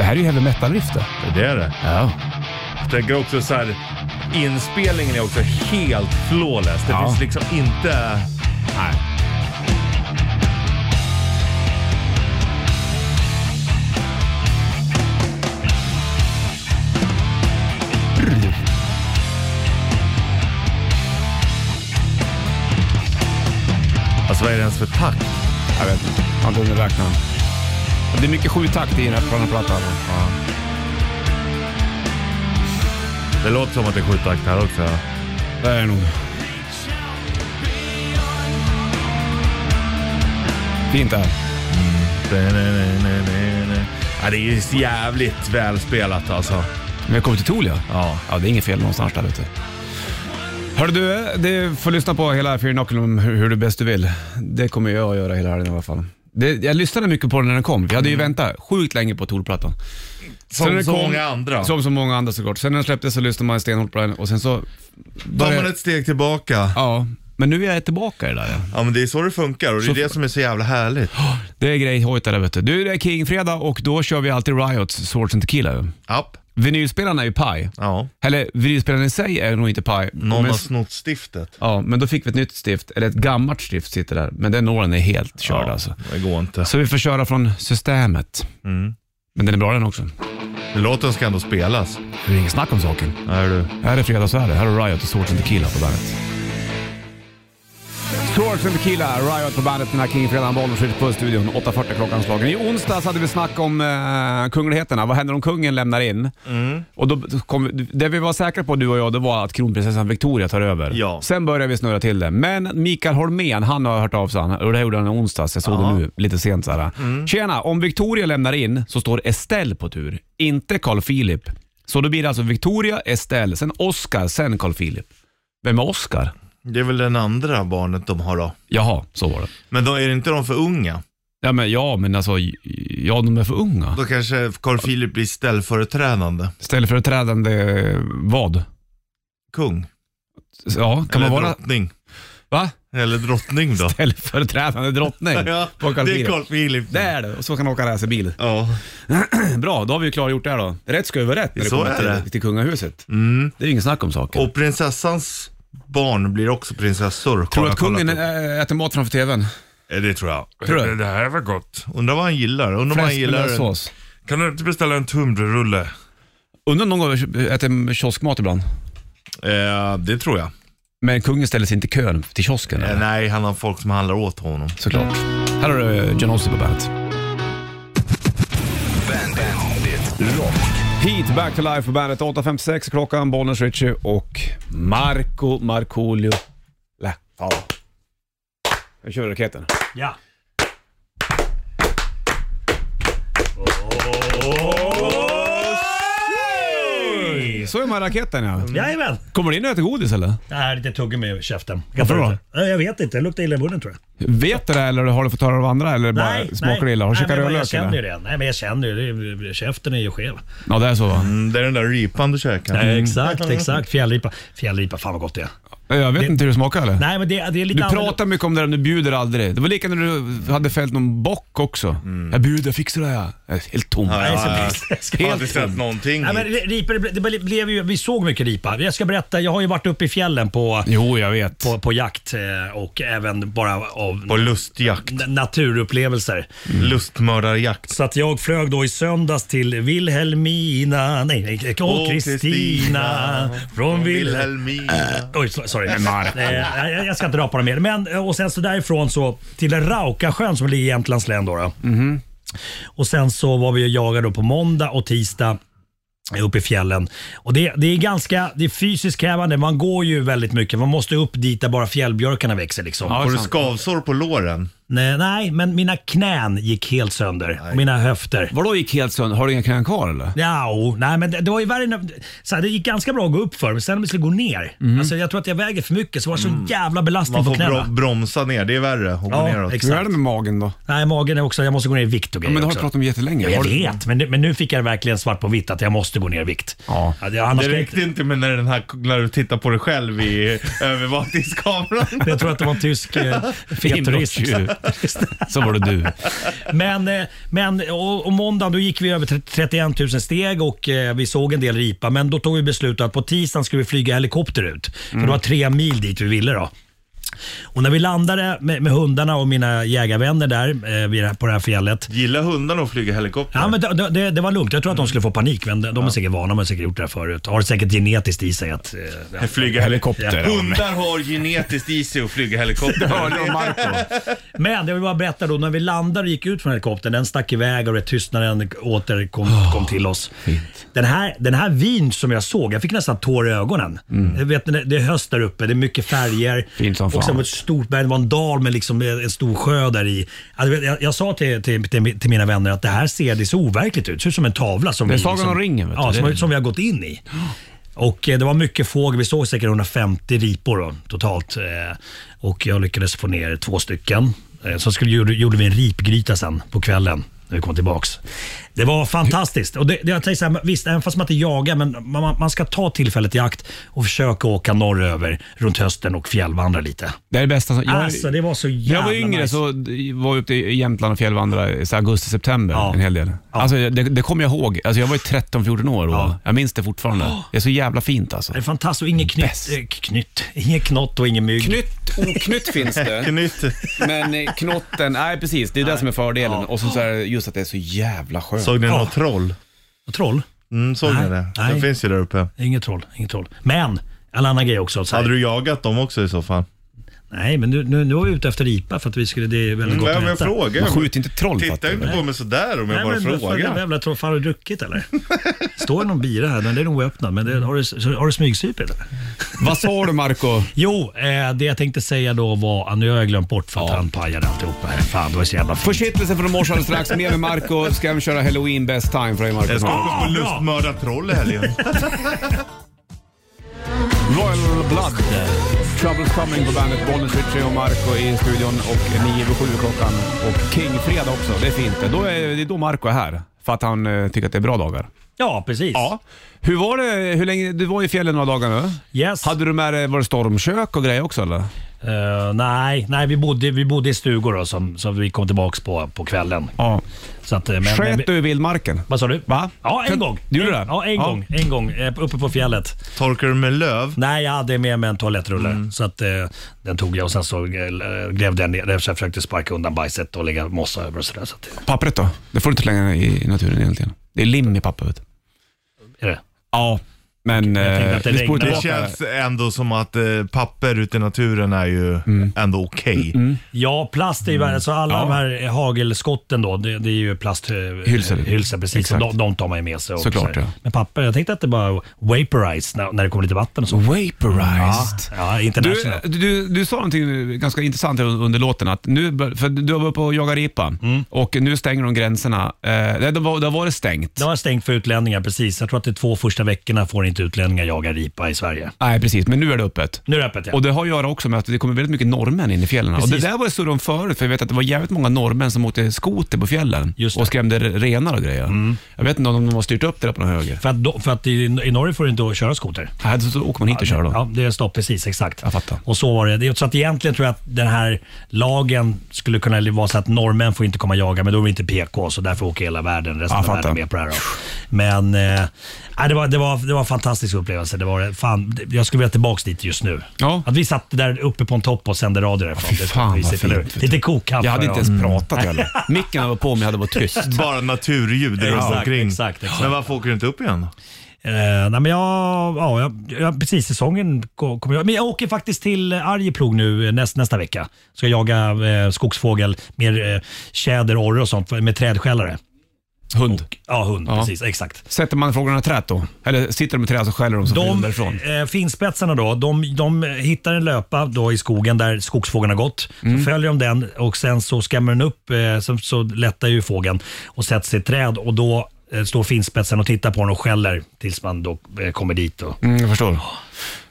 Speaker 2: här är ju heavy metal-riff
Speaker 3: Det är det.
Speaker 2: Ja.
Speaker 3: Jag tänker också så här, inspelningen är också helt flawless. Det
Speaker 2: Ja.
Speaker 3: finns liksom inte...
Speaker 2: Nej.
Speaker 3: Alltså vad är det ens för takt?
Speaker 2: Jag vet inte. Jag har inte hunnit räkna. Det är mycket sjutakt i den här på den här plattan.
Speaker 3: Det låter som att det är sju takt här också.
Speaker 2: Det är det nog. Fint det här.
Speaker 3: Ja, det är ju jävligt välspelat alltså.
Speaker 2: Men jag kommer till Tool ja.
Speaker 3: Ja.
Speaker 2: Ja, det är inget fel någonstans där ute. Hörru du, du får lyssna på hela Fear Knockin' om hur, hur du bäst du vill. Det kommer jag att göra hela helgen i alla fall. Det, jag lyssnade mycket på den när den kom. Vi hade ju väntat sjukt länge på Tool-plattan. Sen
Speaker 3: Som
Speaker 2: den
Speaker 3: så
Speaker 2: kom-
Speaker 3: många andra.
Speaker 2: Som så många andra såklart. Sen när den släpptes så lyssnade man stenhårt på den och sen så...
Speaker 3: Tar
Speaker 2: Började,
Speaker 3: man ett steg tillbaka.
Speaker 2: Ja, men nu är jag tillbaka i det där ja.
Speaker 3: Ja men det är så det funkar och det är det som är så jävla härligt.
Speaker 2: Det är grejhojt där vet du. Du, det är King-fredag och då kör vi alltid Riots Swords and Tequila ju.
Speaker 3: App.
Speaker 2: Vinylspelaren är ju paj.
Speaker 3: Ja.
Speaker 2: Eller vinylspelaren i sig är nog inte paj.
Speaker 3: Någon
Speaker 2: men,
Speaker 3: har snott stiftet.
Speaker 2: ja, men då fick vi ett nytt stift, eller ett gammalt stift sitter där. Men den nålen är helt körd alltså.
Speaker 3: Det går inte.
Speaker 2: Så vi får köra från systemet.
Speaker 3: Mm.
Speaker 2: Men den är bra den också.
Speaker 3: Låten ska ändå spelas.
Speaker 2: Det är inget snack om saken.
Speaker 3: Är du?
Speaker 2: Här är fredag så är det. Här är Riot och Swords and Tequila på bandet. Swords and Tequila, Riot på bandet, den här King Fredag, Bollnäs ute på studion. 8.40 klockan slagen. I onsdags hade vi snack om eh, kungligheterna. Vad händer om kungen lämnar in? Och då kom, vi- det vi var säkra på du och jag, det var att kronprinsessan Victoria tar över.
Speaker 3: Ja.
Speaker 2: Sen började vi snurra till det. Men Mikael Holmén, han har hört av sig. Han- Och det här gjorde han i onsdags. Jag såg det nu lite sent. Så här. Tjena, om Victoria lämnar in så står Estelle på tur. Inte Carl Philip. Så då blir det alltså Victoria, Estelle, sen Oscar, sen Carl Philip. Vem är Oscar?
Speaker 3: Det är väl den andra barnet de har då.
Speaker 2: Jaha, så var det.
Speaker 3: Men då är det inte de för unga?
Speaker 2: Ja men, ja, men alltså, j- ja de är för unga.
Speaker 3: Då kanske Carl Philip blir ställföreträdande
Speaker 2: Ställföreträdande eh, vad?
Speaker 3: kung.
Speaker 2: Ja, kan
Speaker 3: eller
Speaker 2: man vara...
Speaker 3: drottning.
Speaker 2: Va?
Speaker 3: Eller drottning då.
Speaker 2: Ställföreträdande drottning
Speaker 3: ja,
Speaker 2: på Carl
Speaker 3: det är
Speaker 2: Philip.
Speaker 3: Carl Philip.
Speaker 2: Det är det, och så kan man åka racerbil.
Speaker 3: Ja.
Speaker 2: Bra, då har vi ju klargjort det här då. Rätt ska ju vara rätt när det
Speaker 3: Så
Speaker 2: kommer
Speaker 3: är
Speaker 2: till,
Speaker 3: det. Mm.
Speaker 2: till kungahuset. Det är ju ingen snack om saken.
Speaker 3: Och prinsessans barn blir också
Speaker 2: Tror
Speaker 3: prinsessor.
Speaker 2: du
Speaker 3: har
Speaker 2: att
Speaker 3: jag
Speaker 2: kungen
Speaker 3: kollat upp.
Speaker 2: ä- äter mat framför TVn?
Speaker 3: Eh, Det tror jag.
Speaker 2: Tror du?
Speaker 3: Det- Det här var gott. Undrar vad han gillar. Undrar vad han
Speaker 2: Fläsk med
Speaker 3: gillar. en-
Speaker 2: lössås.
Speaker 3: Kan du inte beställa en tunnbrödsrulle?
Speaker 2: Undrar om någon gång äter kioskmat ibland.
Speaker 3: Eh, det tror jag.
Speaker 2: Men kungen ställer sig inte i kön till kiosken.
Speaker 3: Eh,
Speaker 2: eller?
Speaker 3: nej, han har folk som handlar åt honom.
Speaker 2: Såklart. Här har du eh, John Ossie på bandet. Heat, Back to Life på bandet. 8.56 klockan, Bollnäs Ritchie och Marco Markoolio Lättala. Nu kör vi raketen.
Speaker 5: Ja.
Speaker 2: Så är man raketen ja.
Speaker 8: Jajamän!
Speaker 2: Kommer du in och äter godis eller?
Speaker 8: Det här är lite tuggummi i käften.
Speaker 2: Varför då?
Speaker 8: då? Jag vet inte. Det luktar illa i munnen tror jag.
Speaker 2: Vet du det eller har du fått höra av andra eller bara smakar det illa? Har du
Speaker 8: Nej,
Speaker 2: käkat
Speaker 8: men Jag
Speaker 2: rödlök
Speaker 8: känner ju
Speaker 2: eller?
Speaker 8: det. Nej, men jag känner ju det. Käften är ju skev.
Speaker 2: Ja det är så va?
Speaker 3: Mm, det är den där ripan du käkar. Mm.
Speaker 8: Nej, Exakt, exakt. Fjällripa. Fjällripa, fan vad gott det är.
Speaker 2: Jag vet inte hur det smakar eller?
Speaker 8: Nej, men det, det är lite
Speaker 2: Du
Speaker 8: annorlunda.
Speaker 2: pratar mycket om det där, men du bjuder aldrig. Det var lika när du hade fällt någon bock också.
Speaker 8: Mm.
Speaker 2: Jag bjuder, fixar det här. Jag är Helt tom.
Speaker 8: Nej,
Speaker 3: Ja, ja, ja.
Speaker 8: så- jag ska-
Speaker 3: Jag har aldrig sett någonting.
Speaker 8: Nej, men ripa, det, ble- det blev ju, vi såg mycket ripa. Jag ska berätta, jag har ju varit uppe i fjällen på,
Speaker 2: Jo, jag vet.
Speaker 8: på, på jakt eh, och även bara av
Speaker 3: På lustjakt.
Speaker 8: n- naturupplevelser.
Speaker 3: Mm. Lustmördarjakt.
Speaker 8: Så att jag flög då i söndags till Vilhelmina, nej, nej
Speaker 3: Åh,
Speaker 8: åh Kristina från Vilhelmina.
Speaker 3: Vilhelmina.
Speaker 8: Eh, Oj, so- sorry. Eh, jag- jag ska inte rapa dem mer. Men, eh, och sen så därifrån så till Raukasjön som ligger i Jämtlands län. Då, då.
Speaker 3: Mhm.
Speaker 8: Och sen så var vi och jagade då på måndag och tisdag eh, uppe i fjällen. Och det, det är ganska det är fysiskt krävande. Man går ju väldigt mycket. Man måste upp dit där bara fjällbjörkarna växer. Liksom.
Speaker 2: Ja,
Speaker 3: Har du
Speaker 2: sant.
Speaker 3: skavsår på låren?
Speaker 8: Nej, nej, men mina knän gick helt sönder. Och mina höfter.
Speaker 2: Vadå gick helt sönder? Har du inga knän kvar eller?
Speaker 8: Ja, o, nej men det, det var ju värre när, så här, Det gick ganska bra att gå upp för men sen när vi skulle gå ner. Alltså, jag tror att jag väger för mycket så var det sån jävla belastning
Speaker 3: Mhm. Mm. Man
Speaker 8: på
Speaker 3: får
Speaker 8: knäna.
Speaker 3: bro- bromsa ner, det är värre att gå
Speaker 8: Ja,
Speaker 3: neråt.
Speaker 8: exakt.
Speaker 2: Hur är det med magen då?
Speaker 8: Nej, magen är också... Jag måste gå ner i vikt och
Speaker 2: Ja,
Speaker 8: grejer
Speaker 2: men det har du
Speaker 8: också.
Speaker 2: pratat om jättelänge.
Speaker 8: Ja, jag
Speaker 2: Har du-
Speaker 8: vet, men, men nu fick jag verkligen svart på vitt att jag måste gå ner i vikt.
Speaker 2: Ja.
Speaker 8: det, annars
Speaker 3: Det
Speaker 8: skulle jag
Speaker 3: räckte inte med när, den här, när du tittar på dig själv i övervakningskameran.
Speaker 8: inte- jag tror att det var en tysk eh, fetturist.
Speaker 2: Inbrottstjuv. Så var det du.
Speaker 8: Men, eh, men och, och måndag då gick vi över tre- 31 000 steg och eh, vi såg en del ripa. Men då tog vi beslutet att på tisdagen skulle vi flyga helikopter ut. För
Speaker 3: Mm.
Speaker 8: det var tre mil dit vi ville då. Och när vi landade med, med hundarna och mina jägarvänner där eh, vid det här- på det här fjället.
Speaker 3: Gillar hundarna att flyga helikopter?
Speaker 8: Ja, men det, det, det var lugnt. Jag tror att de skulle få panik. Men de de är säkert vana. De har säkert gjort det här förut. Har säkert genetiskt i sig att... eh, ja.
Speaker 3: Flyga
Speaker 2: Helikopter.
Speaker 3: Hundar har genetiskt i sig att flyga helikopter.
Speaker 2: Hörde om Marco.
Speaker 8: Men jag vill bara berätta då, när vi landade och gick ut från helikoptern, den stack iväg och det tystnaden åter kom,
Speaker 2: Ah,
Speaker 8: kom till oss. Den här, den här vin som jag såg, jag fick nästan tår i ögonen. Jag Vet, ni, det är höst där uppe, det är mycket färger.
Speaker 2: Mm. Fint som
Speaker 8: och
Speaker 2: fan.
Speaker 8: sen var det ett stort berg, det var en dal med liksom en en stor sjö där i. Alltså, jag, jag, jag sa till, till, till, till mina vänner att det här ser, det ser overkligt ut, det ser ut som en tavla. Som
Speaker 2: Det är
Speaker 8: vi
Speaker 2: Sagan om ringen, vet du.
Speaker 8: Liksom. Ja,
Speaker 2: Det är-
Speaker 8: som, som vi har gått in i. Och eh, det var mycket fågel. Vi såg säkert 150 ripor då, totalt. Eh, Och jag lyckades få ner två stycken. Eh, Så skulle, gjorde, gjorde vi en ripgryta sen på kvällen när vi kom tillbaks. Det var fantastiskt. Och det, det, jag tänkte så här, visst, även fast man inte jagar, men man, man- man ska ta tillfället i akt och försöka åka norröver runt hösten och fjällvandra lite.
Speaker 2: Det är det bästa. som- Jag,
Speaker 8: Alltså, det var så
Speaker 2: när jag var
Speaker 8: jävla
Speaker 2: yngre
Speaker 8: nice.
Speaker 2: så d- var jag ute i Jämtland och fjällvandrade så här augusti-september
Speaker 8: Ja.
Speaker 2: en hel del. Alltså, det, det kommer jag ihåg. Alltså, jag var ju 13-14 år då.
Speaker 8: Ja.
Speaker 2: Jag minns det fortfarande. Det är så jävla fint alltså.
Speaker 8: Det är fantastiskt. Och ingen knytt,
Speaker 2: Bäst.
Speaker 8: eh, knytt, ingen knott och ingen mygg.
Speaker 2: Knytt, oknytt finns det.
Speaker 3: Knytt.
Speaker 2: Men eh, knotten, nej precis. Det är det som är fördelen. Och så, så här, just att det är så jävla skönt.
Speaker 3: Såg ni
Speaker 8: Ja.
Speaker 3: något troll?
Speaker 8: Och troll?
Speaker 3: Mm, såg
Speaker 8: Nej,
Speaker 3: ni det?
Speaker 8: nej.
Speaker 3: Det finns ju där uppe.
Speaker 8: Inget troll, inget troll. Men, en annan grej också. Så här,
Speaker 3: Hade du jagat dem också i så fall?
Speaker 8: Nej, men nu, nu, nu var vi ute efter ripa för att vi skulle... Det är
Speaker 3: Mm,
Speaker 8: väldigt gott
Speaker 3: men
Speaker 8: att
Speaker 3: jag
Speaker 8: äta.
Speaker 3: frågar.
Speaker 2: Man skjuter inte troll
Speaker 3: Titta
Speaker 2: fattar du.
Speaker 3: inte på mig sådär om jag bara
Speaker 8: men vad fan,
Speaker 3: frågar.
Speaker 8: Jävla tror fan har du druckit eller? Står det någon bira här? Den är nog oöppnad, men det, har du, så- har du smygsupit eller?
Speaker 2: Vad sa du Marco?
Speaker 8: Jo, eh, det jag tänkte säga då var... ah, Nu har jag glömt bort för att han pajade alltihopa här. Fan, det var så jävla fint.
Speaker 2: Försittelse från morse alldeles strax. Mer med Marco. Ska även köra Halloween best time för dig Marco.
Speaker 3: Jag ska gå och lustmörda troll i helgen.
Speaker 2: Royal Blood. Troubles Coming på bandet. Bollnäs, Ritchie och Marco i studion och 9 över 7 klockan. Och King-fredag också. Det är fint. Då är, det är då Marco är här. För att han eh, tycker att det är bra dagar.
Speaker 8: Ja, precis.
Speaker 2: Ja. Hur var det? Hur länge, du var i fjällen några dagar nu.
Speaker 8: Yes.
Speaker 2: Hade du med dig, var det stormkök och grejer också eller?
Speaker 8: Eh, nej, nej vi, bodde, vi bodde i stugor då, som, som vi kom tillbaka på på kvällen.
Speaker 2: Ja.
Speaker 8: Så att, eh, men, men, vi-
Speaker 2: Sköt du i vildmarken?
Speaker 8: Vad sa du?
Speaker 2: Va?
Speaker 8: Ja, en
Speaker 2: Kan-
Speaker 8: gång.
Speaker 2: Du gjorde
Speaker 8: En-
Speaker 2: det?
Speaker 8: Ja, en gång. En gång. eh, Uppe på fjället.
Speaker 3: Torkar du med löv?
Speaker 8: Nej, jag hade med mig en toalettrulle. Så att, eh, den tog jag och sen så eh, grävde jag ner den. Så jag försökte sparka undan bajset och lägga mossa över och sådär. Så att, eh,
Speaker 2: Pappret då? Det får du inte slänga i naturen egentligen. Det är lim i pappret.
Speaker 8: är det.
Speaker 2: Ja, men
Speaker 8: tänkte att det
Speaker 2: eh, vi spår
Speaker 8: regnar.
Speaker 3: Det
Speaker 2: tillbaka.
Speaker 3: känns ändå som att eh, papper ute i naturen är ju
Speaker 8: Mm.
Speaker 3: ändå okej.
Speaker 8: Ja, plast är ju värre. Så alla
Speaker 2: Ja.
Speaker 8: de här eh, hagelskotten då, det, det är ju
Speaker 2: Hylsor.
Speaker 8: plasthylsor. Precis, och
Speaker 2: Exakt.
Speaker 8: de, de tar man ju med sig. Och
Speaker 2: Såklart,
Speaker 8: så här.
Speaker 2: ja.
Speaker 8: Men papper, jag tänkte att det bara vaporize när, när det kommer lite vatten och så.
Speaker 2: Vaporized.
Speaker 8: Ja, international.
Speaker 2: Du, eh, du, du sa någonting ganska intressant här under låten. Att nu, bör- för du var uppe och jagade ripa och nu stänger de gränserna. Eh, nej, det, var, det har varit stängt.
Speaker 8: Det var stängt för utlänningar, precis. Jag tror att de två första veckorna får inte utlänningar jaga ripa i Sverige.
Speaker 2: Nej, precis. Men nu är det öppet.
Speaker 8: Nu är det öppet ja.
Speaker 2: Och Det har att göra också med att det kommer väldigt mycket norrmän in i fjällen. Och det
Speaker 8: Precis.
Speaker 2: där var det surr om förut, för jag vet att det var jävligt många norrmän som åkte skoter på fjällen
Speaker 8: Just det. Mm.
Speaker 2: och skrämde renar och grejer. Jag vet inte om de har styrt upp det där på någon höger.
Speaker 8: För att, då, för att i, i Norge får du inte köra skoter.
Speaker 2: Nej, så, så åker man hit och kör då.
Speaker 8: Ja, det är stopp precis, exakt.
Speaker 2: Jag fattar.
Speaker 8: Och så var det. det. är- Så att egentligen tror jag att den här lagen skulle kunna vara så att norrmän får inte komma och jaga, men då är vi inte PK, så därför åker hela världen, resten
Speaker 2: Ja,
Speaker 8: av
Speaker 2: fattar.
Speaker 8: världen med på det här. Då. Men eh, nej, det, var, det, var, det var en fantastisk upplevelse. Det var, det. fan, det- jag skulle vilja tillbaka dit just nu.
Speaker 2: Ja.
Speaker 8: Att vi satt där uppe på en topp och sände radio därifrån.
Speaker 2: Fy fan,
Speaker 8: det är
Speaker 2: vad fint,
Speaker 8: eller hur?
Speaker 2: vet du.
Speaker 8: Lite kokkaffe.
Speaker 2: Jag hade inte ens
Speaker 8: och-
Speaker 2: pratat heller. Micken var på men jag hade varit tyst.
Speaker 3: Bara naturljud runt
Speaker 8: Exakt,
Speaker 3: omkring.
Speaker 8: exakt, exakt.
Speaker 3: Men varför åker du inte upp igen då?
Speaker 8: Eh, nej men jag, ja, jag, jag, precis säsongen ko- kommer jag. Men jag åker faktiskt till Arjeplog nu eh, näst, nästa vecka. Ska jaga eh, skogsfågel, mer eh, tjäder, orre och sånt för- med trädskällare.
Speaker 2: Hund.
Speaker 8: Ja, hund.
Speaker 2: Ja.
Speaker 8: Precis, exakt.
Speaker 2: Sätter man frågorna i trät då? Eller sitter de i trä så skäller de så flyger de
Speaker 8: De
Speaker 2: därifrån?
Speaker 8: eh, finspetsarna då, de, de hittar en löpa då i skogen där skogsfågeln har gått.
Speaker 2: Mm.
Speaker 8: Så följer de den och sen så skämmer den upp, eh, så, så lättar ju fågeln och sätter sig i ett träd och då eh, står finspetsen och tittar på den och skäller tills man då eh, kommer dit. Och,
Speaker 2: Mm, jag förstår.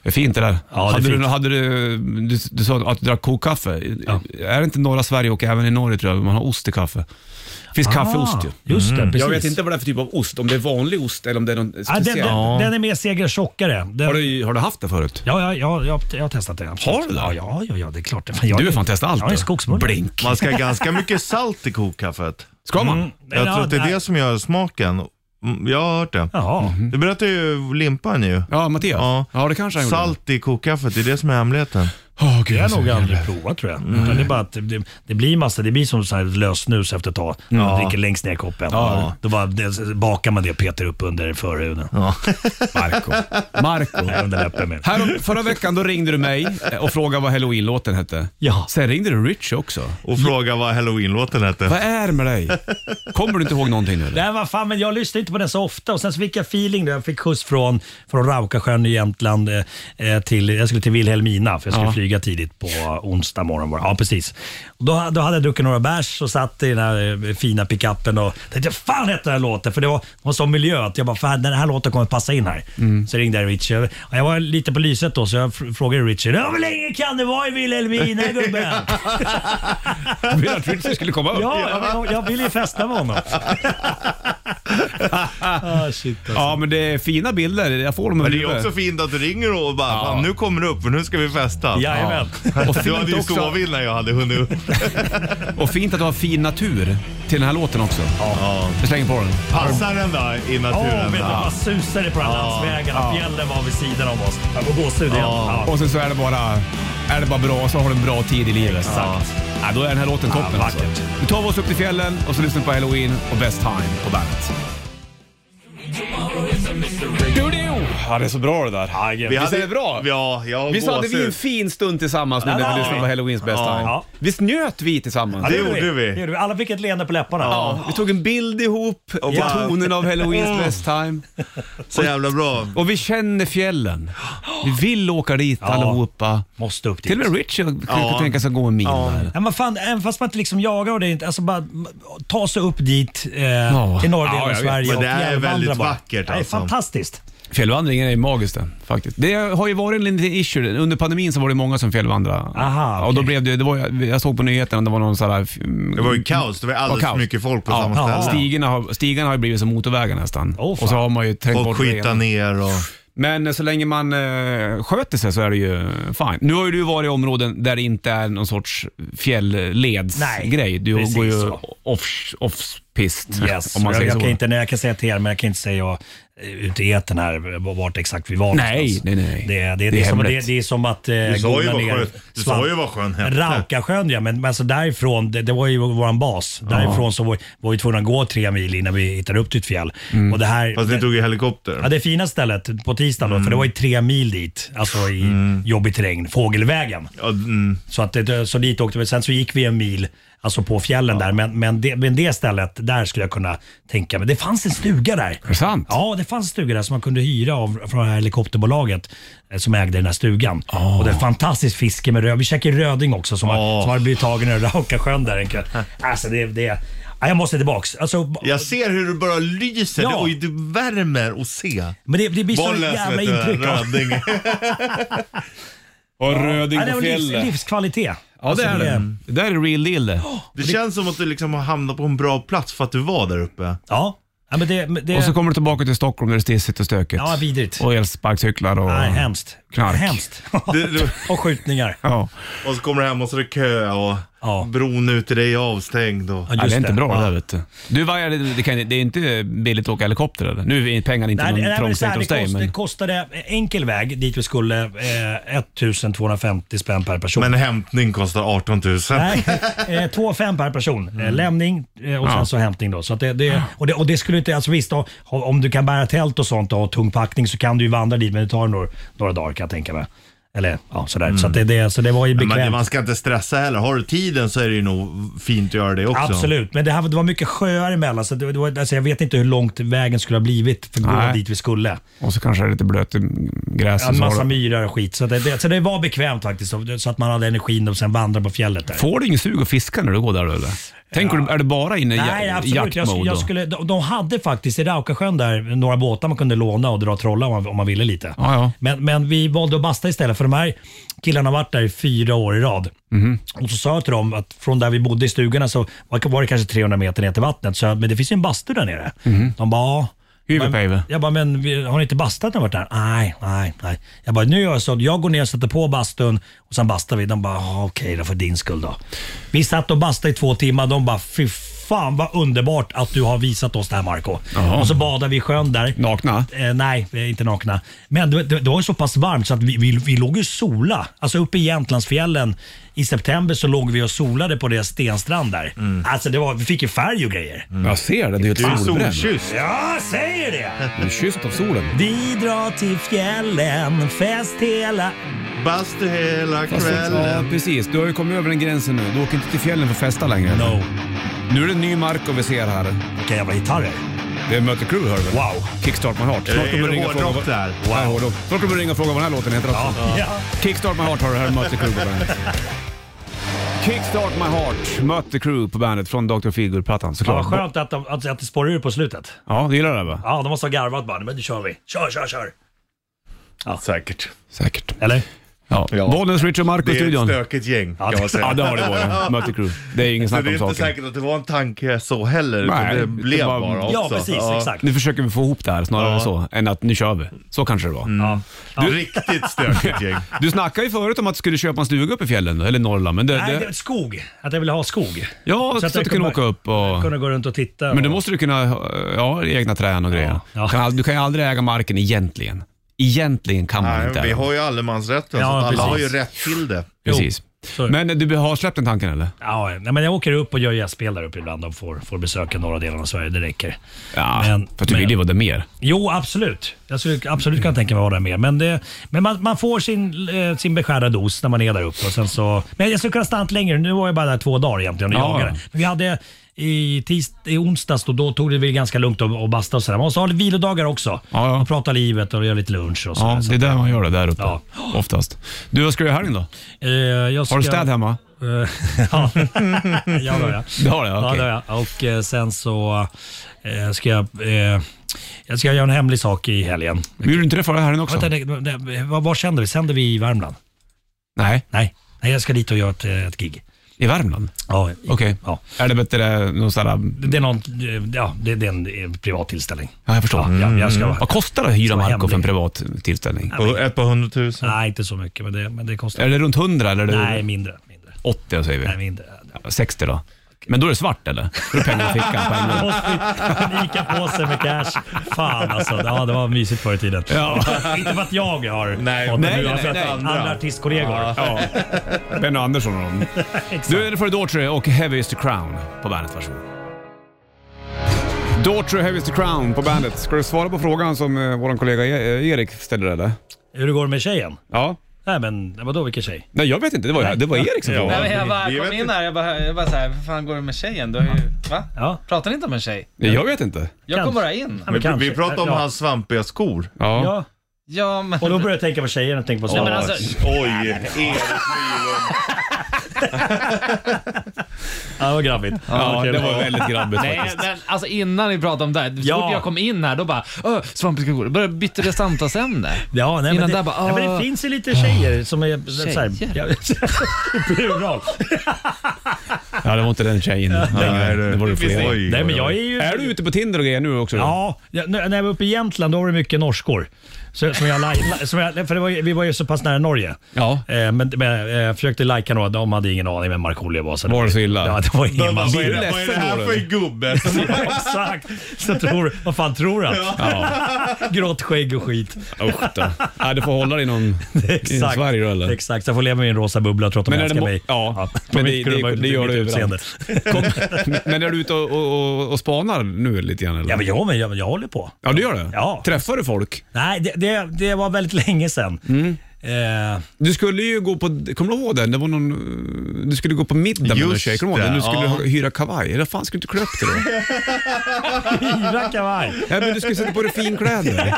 Speaker 2: Det är fint det där.
Speaker 8: Ja, det är
Speaker 2: hade du,
Speaker 8: fint.
Speaker 2: hade du, du, du sa att du drack kokkaffe. Är det inte norra Sverige och även i Norge tror jag man har ost i kaffe? Det finns kaffeost ju. Mm.
Speaker 8: Just det, precis.
Speaker 2: Jag vet inte vad det är för typ av ost, om det är vanlig ost eller om det är någon
Speaker 8: Ja,
Speaker 2: speciell.
Speaker 8: den, den, den är mer segertjockare. Den,
Speaker 2: Har, du, har du haft det förut?
Speaker 8: Ja, ja, ja, jag, jag har testat det. absolut.
Speaker 2: Har du det?
Speaker 8: Ja, ja, ja, ja det är klart. det. Jag,
Speaker 2: Du har fan testat allt.
Speaker 8: Jag är
Speaker 2: du.
Speaker 8: skogsmulle.
Speaker 2: Blink.
Speaker 3: Man ska ha ganska mycket salt i kokkaffet.
Speaker 2: Ska man?
Speaker 8: Mm.
Speaker 3: Jag tror att det är det som gör smaken. Mm, Jag har hört det.
Speaker 8: Jaha.
Speaker 2: Mm-hmm.
Speaker 3: Det berättar ju Limpan ju.
Speaker 2: Ja, Mattias. Ja.
Speaker 3: Ja.
Speaker 2: det kanske han gjorde.
Speaker 3: Salt i kokkaffet, det är det som är hemligheten.
Speaker 2: Åh, gud,
Speaker 8: Det har
Speaker 2: alltså.
Speaker 8: jag nog aldrig provat tror jag.
Speaker 2: Mm.
Speaker 8: Utan Det, är bara att det- det, det blir massa, det blir som så här lössnus efter ett tag. Man dricker längst ner i koppen. Då bara, det, bakar man det och petar upp under förhuden.
Speaker 2: Marco. Marco.
Speaker 8: Nej, Under läppen med.
Speaker 2: Här, förra veckan då ringde du mig och frågade vad halloween-låten hette.
Speaker 8: Ja.
Speaker 2: Sen ringde du Rich också.
Speaker 3: Och fråga vad halloween-låten
Speaker 2: Vad
Speaker 3: hette.
Speaker 2: är det med dig? Kommer du inte ihåg någonting nu? eller?
Speaker 8: Nej, vad fan, men jag lyssnar inte på den så ofta och sen så fick jag feeling där. Jag fick skjuts från, från Raukasjön i Jämtland eh, eh, till, jag skulle till Vilhelmina för jag skulle flyga tidigt på onsdag morgon. var det. Ja, precis. Och Då, då hade jag druckit några bärs och satt i den här eh, fina pickuppen och tänkte, fan hette den här låten? För det var, det var en sån miljö att jag bara, fan den här låten kommer passa in här. Så ringde jag Richie. Och Jag var lite på lyset då så jag fr- frågade Richie, hur länge kan det vara i Vilhelmina gubben?
Speaker 2: Jag ville att Rich skulle komma upp.
Speaker 8: ja, jag vill, jag vill ju festa med honom. ah, shit, alltså.
Speaker 2: Ja, men det är fina bilder. Jag får dem
Speaker 3: Men
Speaker 2: över
Speaker 3: det är också fint att du ringer och bara, fan, nu kommer du upp för nu ska vi festa.
Speaker 8: Jajamän.
Speaker 2: Och
Speaker 3: Du
Speaker 2: fint,
Speaker 3: hade ju
Speaker 2: också,
Speaker 3: sovit innan jag hade hunnit upp.
Speaker 2: och fint att du har fin natur till den här låten också. Ja. Jag slänger på den.
Speaker 3: Passar den då i
Speaker 8: Åh,
Speaker 3: naturen?
Speaker 8: vet du, bara susade på den här landsvägen. Fjällen var vid sidan av oss. Jag får gåshud igen. Ja.
Speaker 2: Och sen så är det bara, är det bara bra, så har du en bra tid i livet.
Speaker 8: Exakt.
Speaker 2: Ja. Ja, då är den här låten toppen.
Speaker 8: Ja,
Speaker 2: alltså.
Speaker 8: vackert.
Speaker 2: Nu tar vi oss upp till fjällen och så lyssnar vi på Halloween och Best Time på bandet. Studio! Ja, det är så bra det där.
Speaker 8: Jajamän.
Speaker 2: Vi
Speaker 8: Visst
Speaker 2: hade,
Speaker 3: hade-
Speaker 2: är det bra?
Speaker 3: Ja, jag har
Speaker 2: Visst hade vi en
Speaker 3: gåshud.
Speaker 2: fin stund tillsammans nu
Speaker 8: Ja, det
Speaker 2: när vi
Speaker 8: hade
Speaker 2: lyssnade
Speaker 8: vi.
Speaker 2: på Halloweens Best
Speaker 3: Ja.
Speaker 2: Time?
Speaker 8: Ja.
Speaker 2: Visst njöt vi tillsammans?
Speaker 3: Det gjorde
Speaker 8: Det
Speaker 3: vi.
Speaker 8: gjorde vi. Alla fick ett leende på läpparna.
Speaker 2: Ja, vi tog en bild ihop och
Speaker 3: Ja.
Speaker 2: tonen av Halloweens Best Time.
Speaker 3: Så jävla bra.
Speaker 2: Och vi känner fjällen. Vi vill åka dit allihopa.
Speaker 8: Måste upp dit.
Speaker 2: Till och med Richie kunde tänka sig att gå en mil där.
Speaker 8: Ja, men fan, även fast man inte liksom jagar och det är inte, alltså bara m- ta sig upp dit eh, till norra delen
Speaker 2: Ja,
Speaker 8: av
Speaker 2: jag vet.
Speaker 8: Sverige
Speaker 3: Men
Speaker 8: och
Speaker 3: det är
Speaker 8: fjällvandra
Speaker 3: väldigt
Speaker 8: bara.
Speaker 3: vackert,
Speaker 8: Det är
Speaker 3: alltså.
Speaker 8: fantastiskt.
Speaker 2: Fjällvandringen är ju magiskt det, faktiskt. Det har ju varit en liten issue. Under pandemin så var det många som fjällvandrade.
Speaker 8: Aha,
Speaker 2: Och då
Speaker 8: okej.
Speaker 2: blev det, det var, jag såg på nyheterna, det var någon sån här...
Speaker 3: Det var ju kaos. Det var alldeles
Speaker 2: kaos.
Speaker 3: för mycket folk på
Speaker 2: Ja,
Speaker 3: samma ställe.
Speaker 8: ja.
Speaker 2: Stigarna har, stigarna har ju blivit som motorvägar nästan.
Speaker 8: Åh,
Speaker 2: och
Speaker 8: fan.
Speaker 2: så har man ju trängt
Speaker 3: Folk
Speaker 2: bort det
Speaker 3: skitar
Speaker 2: igen.
Speaker 3: ner och...
Speaker 2: Men så länge man eh, sköter sig så är det ju fine. Nu har ju du varit i områden där det inte är någon sorts
Speaker 8: Nej,
Speaker 2: fjällledsgrej. Du
Speaker 8: precis
Speaker 2: går ju
Speaker 8: så.
Speaker 2: off- off-pist,
Speaker 8: Yes.
Speaker 2: om man
Speaker 8: jag,
Speaker 2: säger
Speaker 8: jag,
Speaker 2: så.
Speaker 8: kan inte, nej, jag kan säga till er, men jag kan inte säga eh, ut i etern här eh, vart exakt vi var
Speaker 2: Nej,
Speaker 8: någonstans.
Speaker 2: nej, nej.
Speaker 8: Det, det,
Speaker 2: Det
Speaker 8: det,
Speaker 2: är
Speaker 8: är som, det,
Speaker 2: hemligt.
Speaker 8: det är som att eh,
Speaker 3: Du sa ju
Speaker 8: googla
Speaker 3: vad
Speaker 8: ner
Speaker 3: skön, du sa ju
Speaker 8: svamp.
Speaker 3: vad skön hette.
Speaker 8: Raukasjön ja, men, men alltså därifrån, det, det var ju våran bas. Därifrån så var, var vi tvungna att gå tre mil innan vi hittade upp till ett fjäll.
Speaker 2: Mm.
Speaker 8: Och det här,
Speaker 3: Fast ni
Speaker 8: det,
Speaker 3: tog Mm. ju
Speaker 8: ja,
Speaker 3: helikopter.
Speaker 8: det fina stället på tisdagen då, för det var ju tre mil dit, alltså i
Speaker 3: Mm.
Speaker 8: jobbig terräng, fågelvägen.
Speaker 3: Ja, mm.
Speaker 8: Så, att, det- så dit åkte vi. Sen så gick vi en mil alltså på fjällen där, men, men, det, men det stället, där skulle jag kunna tänka mig. Det fanns en stuga där.
Speaker 2: Är det sant?
Speaker 8: Ja, det fanns en stuga där som man kunde hyra av från det här helikopterbolaget eh, som ägde den här stugan.
Speaker 2: Ah.
Speaker 8: Och det är fantastiskt fiske med röding. Vi käkade röding också som, har,
Speaker 3: Åh.
Speaker 8: som hade blivit tagen ur Raukasjön där en kväll. Alltså det... det ja, jag måste tillbaks. Alltså,
Speaker 3: Jag ser hur du bara lyser
Speaker 8: Ja.
Speaker 3: och du värmer och se.
Speaker 8: men det, det blir så
Speaker 3: Bollnäs
Speaker 8: jävla
Speaker 3: vet du,
Speaker 8: intryck. av-
Speaker 3: Rödinge.
Speaker 2: Och röding
Speaker 8: Ja, det
Speaker 2: på
Speaker 8: var livs,
Speaker 2: fjället.
Speaker 8: livskvalitet.
Speaker 2: Ja, det är det. Det där är real deal det.
Speaker 3: Det känns som att du liksom har hamnat på en bra plats för att du var där uppe.
Speaker 8: Ja, ja men det... men det
Speaker 2: Och så kommer du tillbaka till Stockholm där det är stissigt och stökigt.
Speaker 8: ja, vidrigt.
Speaker 2: Och elsparkcyklar och...
Speaker 8: Nej, hemskt.
Speaker 2: Knark.
Speaker 8: Hemskt.
Speaker 3: Du, du,
Speaker 8: och skjutningar.
Speaker 2: Ja.
Speaker 3: och så kommer du hem och så är det kö och
Speaker 8: Ja.
Speaker 3: bron ut till dig är avstängd. Och...
Speaker 2: Nej, det är inte bra det där vet du. du vad är det, det, kan, det är inte billigt att åka helikopter eller? Nu är pengarna inte
Speaker 8: Nej,
Speaker 2: någon
Speaker 8: nej, men så
Speaker 2: trångsekt
Speaker 8: här, det,
Speaker 2: hos dig
Speaker 8: kost, det
Speaker 2: men...
Speaker 8: kostade enkel väg dit vi skulle eh, 1250 spänn per person.
Speaker 3: Men hämtning kostar 18 000.
Speaker 8: Nej, eh, två och fem per person.
Speaker 2: Mm.
Speaker 8: Eh, lämning eh, och sen så hämtning då. Så att det, det, och, det, och det skulle inte, alltså visst då, ha- om du kan bära tält och sånt och ha tung packning så kan du ju vandra dit men det tar några, några dagar kan jag tänka mig. Eller ja, sådär.
Speaker 2: Mm.
Speaker 8: Så, att det, det, så det var ju
Speaker 3: Men
Speaker 8: bekvämt.
Speaker 3: man ska inte stressa heller. Har du tiden så är det ju nog fint att göra det också.
Speaker 8: Absolut, men det, här, var- det var mycket sjöar emellan så det, det var, alltså jag vet inte hur långt vägen skulle ha blivit för att
Speaker 2: Nej.
Speaker 8: gå dit vi skulle.
Speaker 2: Och så kanske det är lite blöt i
Speaker 8: Ja,
Speaker 2: gräset.
Speaker 8: en
Speaker 2: så
Speaker 8: massa
Speaker 2: har du-
Speaker 8: myrar och skit. Så det, det, så det var bekvämt faktiskt. Så så att man hade energin och sen vandra på fjället där.
Speaker 2: Får du ingen sug att fiska när du går där eller? Tänker du, är du bara inne i
Speaker 8: Nej,
Speaker 2: ja-
Speaker 8: absolut. Jag, skulle-
Speaker 2: jaktmode?
Speaker 8: jag skulle, de, de hade faktiskt i Raukasjön där några båtar man kunde låna och dra och trolla om man, om man ville lite.
Speaker 2: Ja, ja.
Speaker 8: Men, men vi valde att basta istället för de här killarna har varit där i fyra år i rad.
Speaker 2: Mhm.
Speaker 8: Och så sa jag till dem att från där vi bodde i stugorna så var var det kanske 300 meter ner till vattnet. Så jag, men det finns ju en bastu där nere.
Speaker 2: Mhm.
Speaker 8: De bara, "Ja."
Speaker 2: Hyvä päivä.
Speaker 8: Jag bara, men vi- har ni inte bastat när ni varit där? Nej, nej, nej. Jag bara, nu gör jag så att jag går ner och sätter på bastun och sen bastar vi. De bara, "Ja, okej då för din skull då. Vi satt och bastade i två timmar. De bara, fy fan vad underbart att du har visat oss det här Marco
Speaker 2: Jaha.
Speaker 8: Och så badade vi i sjön där.
Speaker 2: Nakna?
Speaker 8: Eh, nej, vi är inte nakna. Men det, det, det var ju så pass varmt så att vi, vi, vi låg ju sola. Alltså uppe i Jämtlandsfjällen i september så låg vi och solade på deras stenstrand där. Alltså det var, vi fick ju färg och grejer.
Speaker 2: Jag ser det, det är
Speaker 3: Du är
Speaker 2: ett solbränd.
Speaker 3: solkysst.
Speaker 8: Ja, säger det!
Speaker 2: Du är kysst av solen.
Speaker 8: Vi drar till fjällen, fest hela...
Speaker 3: Bastu hela
Speaker 2: Fast- Ja,
Speaker 3: kvällen.
Speaker 2: precis. Du har ju kommit över den gränsen nu. Du åker inte till fjällen för att festa längre.
Speaker 8: No.
Speaker 2: Nu är det en ny Marco vi ser här.
Speaker 8: Vilka jävla gitarrer.
Speaker 2: Det är Mötley Crüe hör du väl?
Speaker 8: Wow.
Speaker 2: Kickstart My Heart. Snart
Speaker 3: Är
Speaker 2: kommer
Speaker 3: det
Speaker 2: du ringa och fråga
Speaker 3: hårdrock
Speaker 2: vad-
Speaker 3: där?
Speaker 2: Ja, hårdrock. Snart kommer du ringa och fråga vad den här låten heter också.
Speaker 8: Ja.
Speaker 2: Kickstart My Heart har du här, Mötley Crüe på bandet. Kickstart My Heart, Mötley Crüe på bandet från Dr. Feelgood-plattan
Speaker 8: Ja, vad
Speaker 2: såklart.
Speaker 8: skönt att, de, att, att det spårar ur på slutet.
Speaker 2: ja, du gillar det va?
Speaker 8: Ja, de måste ha garvat bara. Men nu kör vi. Kör, kör, kör.
Speaker 3: Säkert.
Speaker 2: Säkert.
Speaker 8: Eller?
Speaker 2: Ja.
Speaker 3: Ja.
Speaker 2: Bollnäs, Richard och Marco i
Speaker 3: Det är ett
Speaker 2: studion.
Speaker 3: stökigt gäng
Speaker 8: Ja,
Speaker 3: kan man säga.
Speaker 2: Ja, det har det varit. Mötley Crüe. Det är ingen
Speaker 3: Så
Speaker 2: snack
Speaker 3: det är
Speaker 2: om
Speaker 3: inte
Speaker 2: saken.
Speaker 3: säkert att det var en tanke så heller,
Speaker 2: Nej,
Speaker 3: utan
Speaker 2: det
Speaker 3: det blev
Speaker 2: var-
Speaker 3: bara, också.
Speaker 8: Ja, precis. Exakt.
Speaker 2: Nu försöker vi få ihop det här snarare
Speaker 3: Ja. Mm.
Speaker 2: så, än att nu kör vi. Så kanske det var.
Speaker 8: Ja.
Speaker 3: Du, riktigt stökigt gäng.
Speaker 2: Du snackade ju förut om att du skulle köpa en stuga uppe i fjällen, eller Norrland. Men det,
Speaker 8: Nej,
Speaker 2: det,
Speaker 8: det var skog. Att jag ville ha skog.
Speaker 2: ja, så,
Speaker 8: jag
Speaker 2: att du kunde
Speaker 8: kunde-
Speaker 2: åka upp och...
Speaker 8: Kunna gå runt och titta.
Speaker 2: Men då
Speaker 8: och-
Speaker 2: måste du kunna eh, ja, egna trän och grejer.
Speaker 8: Ja.
Speaker 2: Du Kan, ald- du kan ju aldrig äga marken egentligen. Egentligen kan man
Speaker 3: Nej,
Speaker 2: inte
Speaker 3: vi
Speaker 2: äga.
Speaker 3: har ju allemansrätten,
Speaker 8: Ja,
Speaker 3: så att alla
Speaker 8: precis.
Speaker 3: har ju rätt till det.
Speaker 2: Precis.
Speaker 8: så är det.
Speaker 2: Men du har släppt den tanken eller?
Speaker 8: Ja, nej, men jag åker upp och gör gästspel där uppe ibland och får, får besöka norra delen av Sverige. Det räcker.
Speaker 2: Ja,
Speaker 8: Men-
Speaker 2: för att du vill ju
Speaker 8: men-
Speaker 2: vara där mer.
Speaker 8: Jo, absolut. Jag skulle absolut kunna tänka mig att vara där mer. Men, det, men man, man får sin, eh, sin beskärda dos när man är där uppe. Och sen så, men jag skulle kunna stanna längre. Nu var jag bara där två dagar egentligen och
Speaker 2: Ja.
Speaker 8: jagade. Men vi hade i, tis, i onsdags då, då tog det väl ganska lugnt och, och basta och sådär. Man måste ha lite vilodagar också.
Speaker 2: Ja, ja.
Speaker 8: Och prata livet och göra lite lunch och sådär.
Speaker 2: Ja,
Speaker 8: så,
Speaker 2: det är där man gör det, där uppe.
Speaker 8: Ja.
Speaker 2: Oftast. Du, vad ska du göra i helgen då?
Speaker 8: eh, jag
Speaker 2: Har du
Speaker 8: ska-
Speaker 2: städ hemma?
Speaker 8: Eh, ja, ja det har jag.
Speaker 2: Det har du, okej.
Speaker 8: Ja, det har jag. Och eh, sen så eh, ska jag, eh, jag ska göra en hemlig sak i helgen.
Speaker 2: Gjorde du inte det förra helgen också?
Speaker 8: Vänta, det, det, vad, vad sänder vi? Sänder vi i Värmland?
Speaker 2: Nej,
Speaker 8: Nej, Nej jag ska dit och göra ett, eh, ett gig.
Speaker 2: i Värmland.
Speaker 8: Ja,
Speaker 2: Okej.
Speaker 8: ja.
Speaker 2: Är det bättre eh, någon sån här...
Speaker 8: Det, är någon, eh, ja, det, det är en eh, privat tillställning.
Speaker 2: Ja, Mm. jag förstår.
Speaker 8: Ja, jag ska,
Speaker 2: Vad kostar det att hyra
Speaker 8: Som
Speaker 2: Marco
Speaker 8: hemlig.
Speaker 2: för en privat tillställning?
Speaker 3: Och ett par hundratusen.
Speaker 8: Nej, inte så mycket, men det, men det kostar.
Speaker 2: Är det runt 100 eller? är det
Speaker 8: Nej, mindre. mindre.
Speaker 2: 80 säger vi.
Speaker 8: Nej, mindre.
Speaker 2: 60 då. Men då är det svart eller? Då är det pengar i fickan på en gång.
Speaker 8: En ICA-påse med cash. Fan alltså. Ja, det var mysigt förr i tiden. Inte för att jag har
Speaker 3: Nej,
Speaker 8: fått
Speaker 3: nej,
Speaker 8: det, utan
Speaker 2: nej,
Speaker 8: för att
Speaker 2: nej.
Speaker 8: andra artistkollegor.
Speaker 2: Ja. Benny Andersson och dem. Du är det för Daughtry och Heavy is the Crown på bandet. Varsågod. Daughtry, Heavy is the Crown på bandet. Ska du svara på frågan som eh, vår kollega E- eh, Erik ställde där, eller?
Speaker 8: Hur det går med tjejen?
Speaker 2: Ja.
Speaker 8: Nej men vadå vilken tjej?
Speaker 2: Nej, jag vet inte. Det var, det var Erik som
Speaker 9: Nej,
Speaker 2: frågade.
Speaker 9: men jag bara
Speaker 3: Vi
Speaker 9: kom
Speaker 3: vet
Speaker 9: in
Speaker 3: inte.
Speaker 9: här jag bara, jag bara så här, hur fan går det med tjejen? Du har ju, va?
Speaker 8: Ja.
Speaker 9: Pratar ni inte om en tjej?
Speaker 2: Nej, Jag vet inte.
Speaker 9: Jag kom
Speaker 8: Kanske.
Speaker 9: bara in.
Speaker 8: Ja, men
Speaker 3: Vi,
Speaker 8: kanske.
Speaker 3: vi pratar om
Speaker 8: ja.
Speaker 3: hans svampiga skor.
Speaker 2: Ja.
Speaker 8: Ja,
Speaker 9: Ja, men...
Speaker 8: och då började jag tänka på tjejen och tänka på
Speaker 9: Nej, men
Speaker 8: Sara.
Speaker 9: alltså,
Speaker 3: Oj, Erik Nylund.
Speaker 8: Ja, det var grabbigt.
Speaker 2: Ja,
Speaker 8: kul.
Speaker 2: det var väldigt grabbigt
Speaker 9: Nej,
Speaker 2: faktiskt.
Speaker 9: men, alltså innan vi pratade om det här, så
Speaker 8: Ja.
Speaker 9: fort jag kom in här då bara Öh, svampiska går. Började bytte det samtalsämne.
Speaker 8: Ja, nej, men
Speaker 9: Innan
Speaker 8: det,
Speaker 9: där bara,
Speaker 8: nej, men
Speaker 9: ah.
Speaker 8: det finns ju lite tjejer som är så här,
Speaker 9: Tjejer?
Speaker 8: ja, plural.
Speaker 2: Ja, det var inte den tjejen längre. Det var det fler.
Speaker 3: Oj,
Speaker 8: Nej men
Speaker 3: oj,
Speaker 8: jag är
Speaker 3: oj.
Speaker 8: ju...
Speaker 2: Är du ute på Tinder och grejer nu också?
Speaker 8: Ja, ja, när när jag var uppe i Jämtland då var det mycket norskor. Så, som jag, li- li- som jag, för det var, ju- vi var ju så pass nära Norge.
Speaker 2: Ja.
Speaker 8: Eh, men, men eh, jag försökte lajka några, de hade ingen aning vem Markoolio var. Så
Speaker 2: Var det så illa?
Speaker 8: Ja, det var ingen
Speaker 3: Men
Speaker 8: man
Speaker 3: Vad vad är
Speaker 8: ville.
Speaker 3: det vad är det här
Speaker 2: Ledsen
Speaker 3: för
Speaker 2: var
Speaker 3: en gubbe? som-
Speaker 8: Exakt! Så jag tror, vad fan tror han? Grått skägg och skit.
Speaker 2: Usch då. Nej, du får hålla dig i någon... I
Speaker 8: Exakt.
Speaker 2: Sverige då eller?
Speaker 8: Exakt, jag får leva i en rosa bubbla och tro att de
Speaker 2: Men är
Speaker 8: älskar
Speaker 2: det mo-
Speaker 8: mig.
Speaker 2: ja,
Speaker 8: på
Speaker 2: men
Speaker 8: mitt
Speaker 2: det- det-
Speaker 8: grund-
Speaker 2: det gör
Speaker 8: mitt
Speaker 2: du
Speaker 8: utseende.
Speaker 2: Kom, men är du ute och, och, och spanar nu lite grann eller?
Speaker 8: Ja, men, ja, men jag, jag håller på.
Speaker 2: Ja, du gör det?
Speaker 8: Ja.
Speaker 2: Träffar du folk? Mm.
Speaker 8: Nej, det, det, det var väldigt länge sedan. Eh,
Speaker 2: Du skulle ju gå på, kommer du ihåg den? Det var någon, eh, du skulle gå på middag med någon
Speaker 3: Just
Speaker 2: tjej, kommer du ihåg det?
Speaker 3: det,
Speaker 2: Du skulle
Speaker 3: ja.
Speaker 2: ha- hyra kavaj. Eller fan skulle du inte klä upp dig då?
Speaker 8: Hyra kavaj.
Speaker 2: ja, men du skulle sätta på dig finkläder.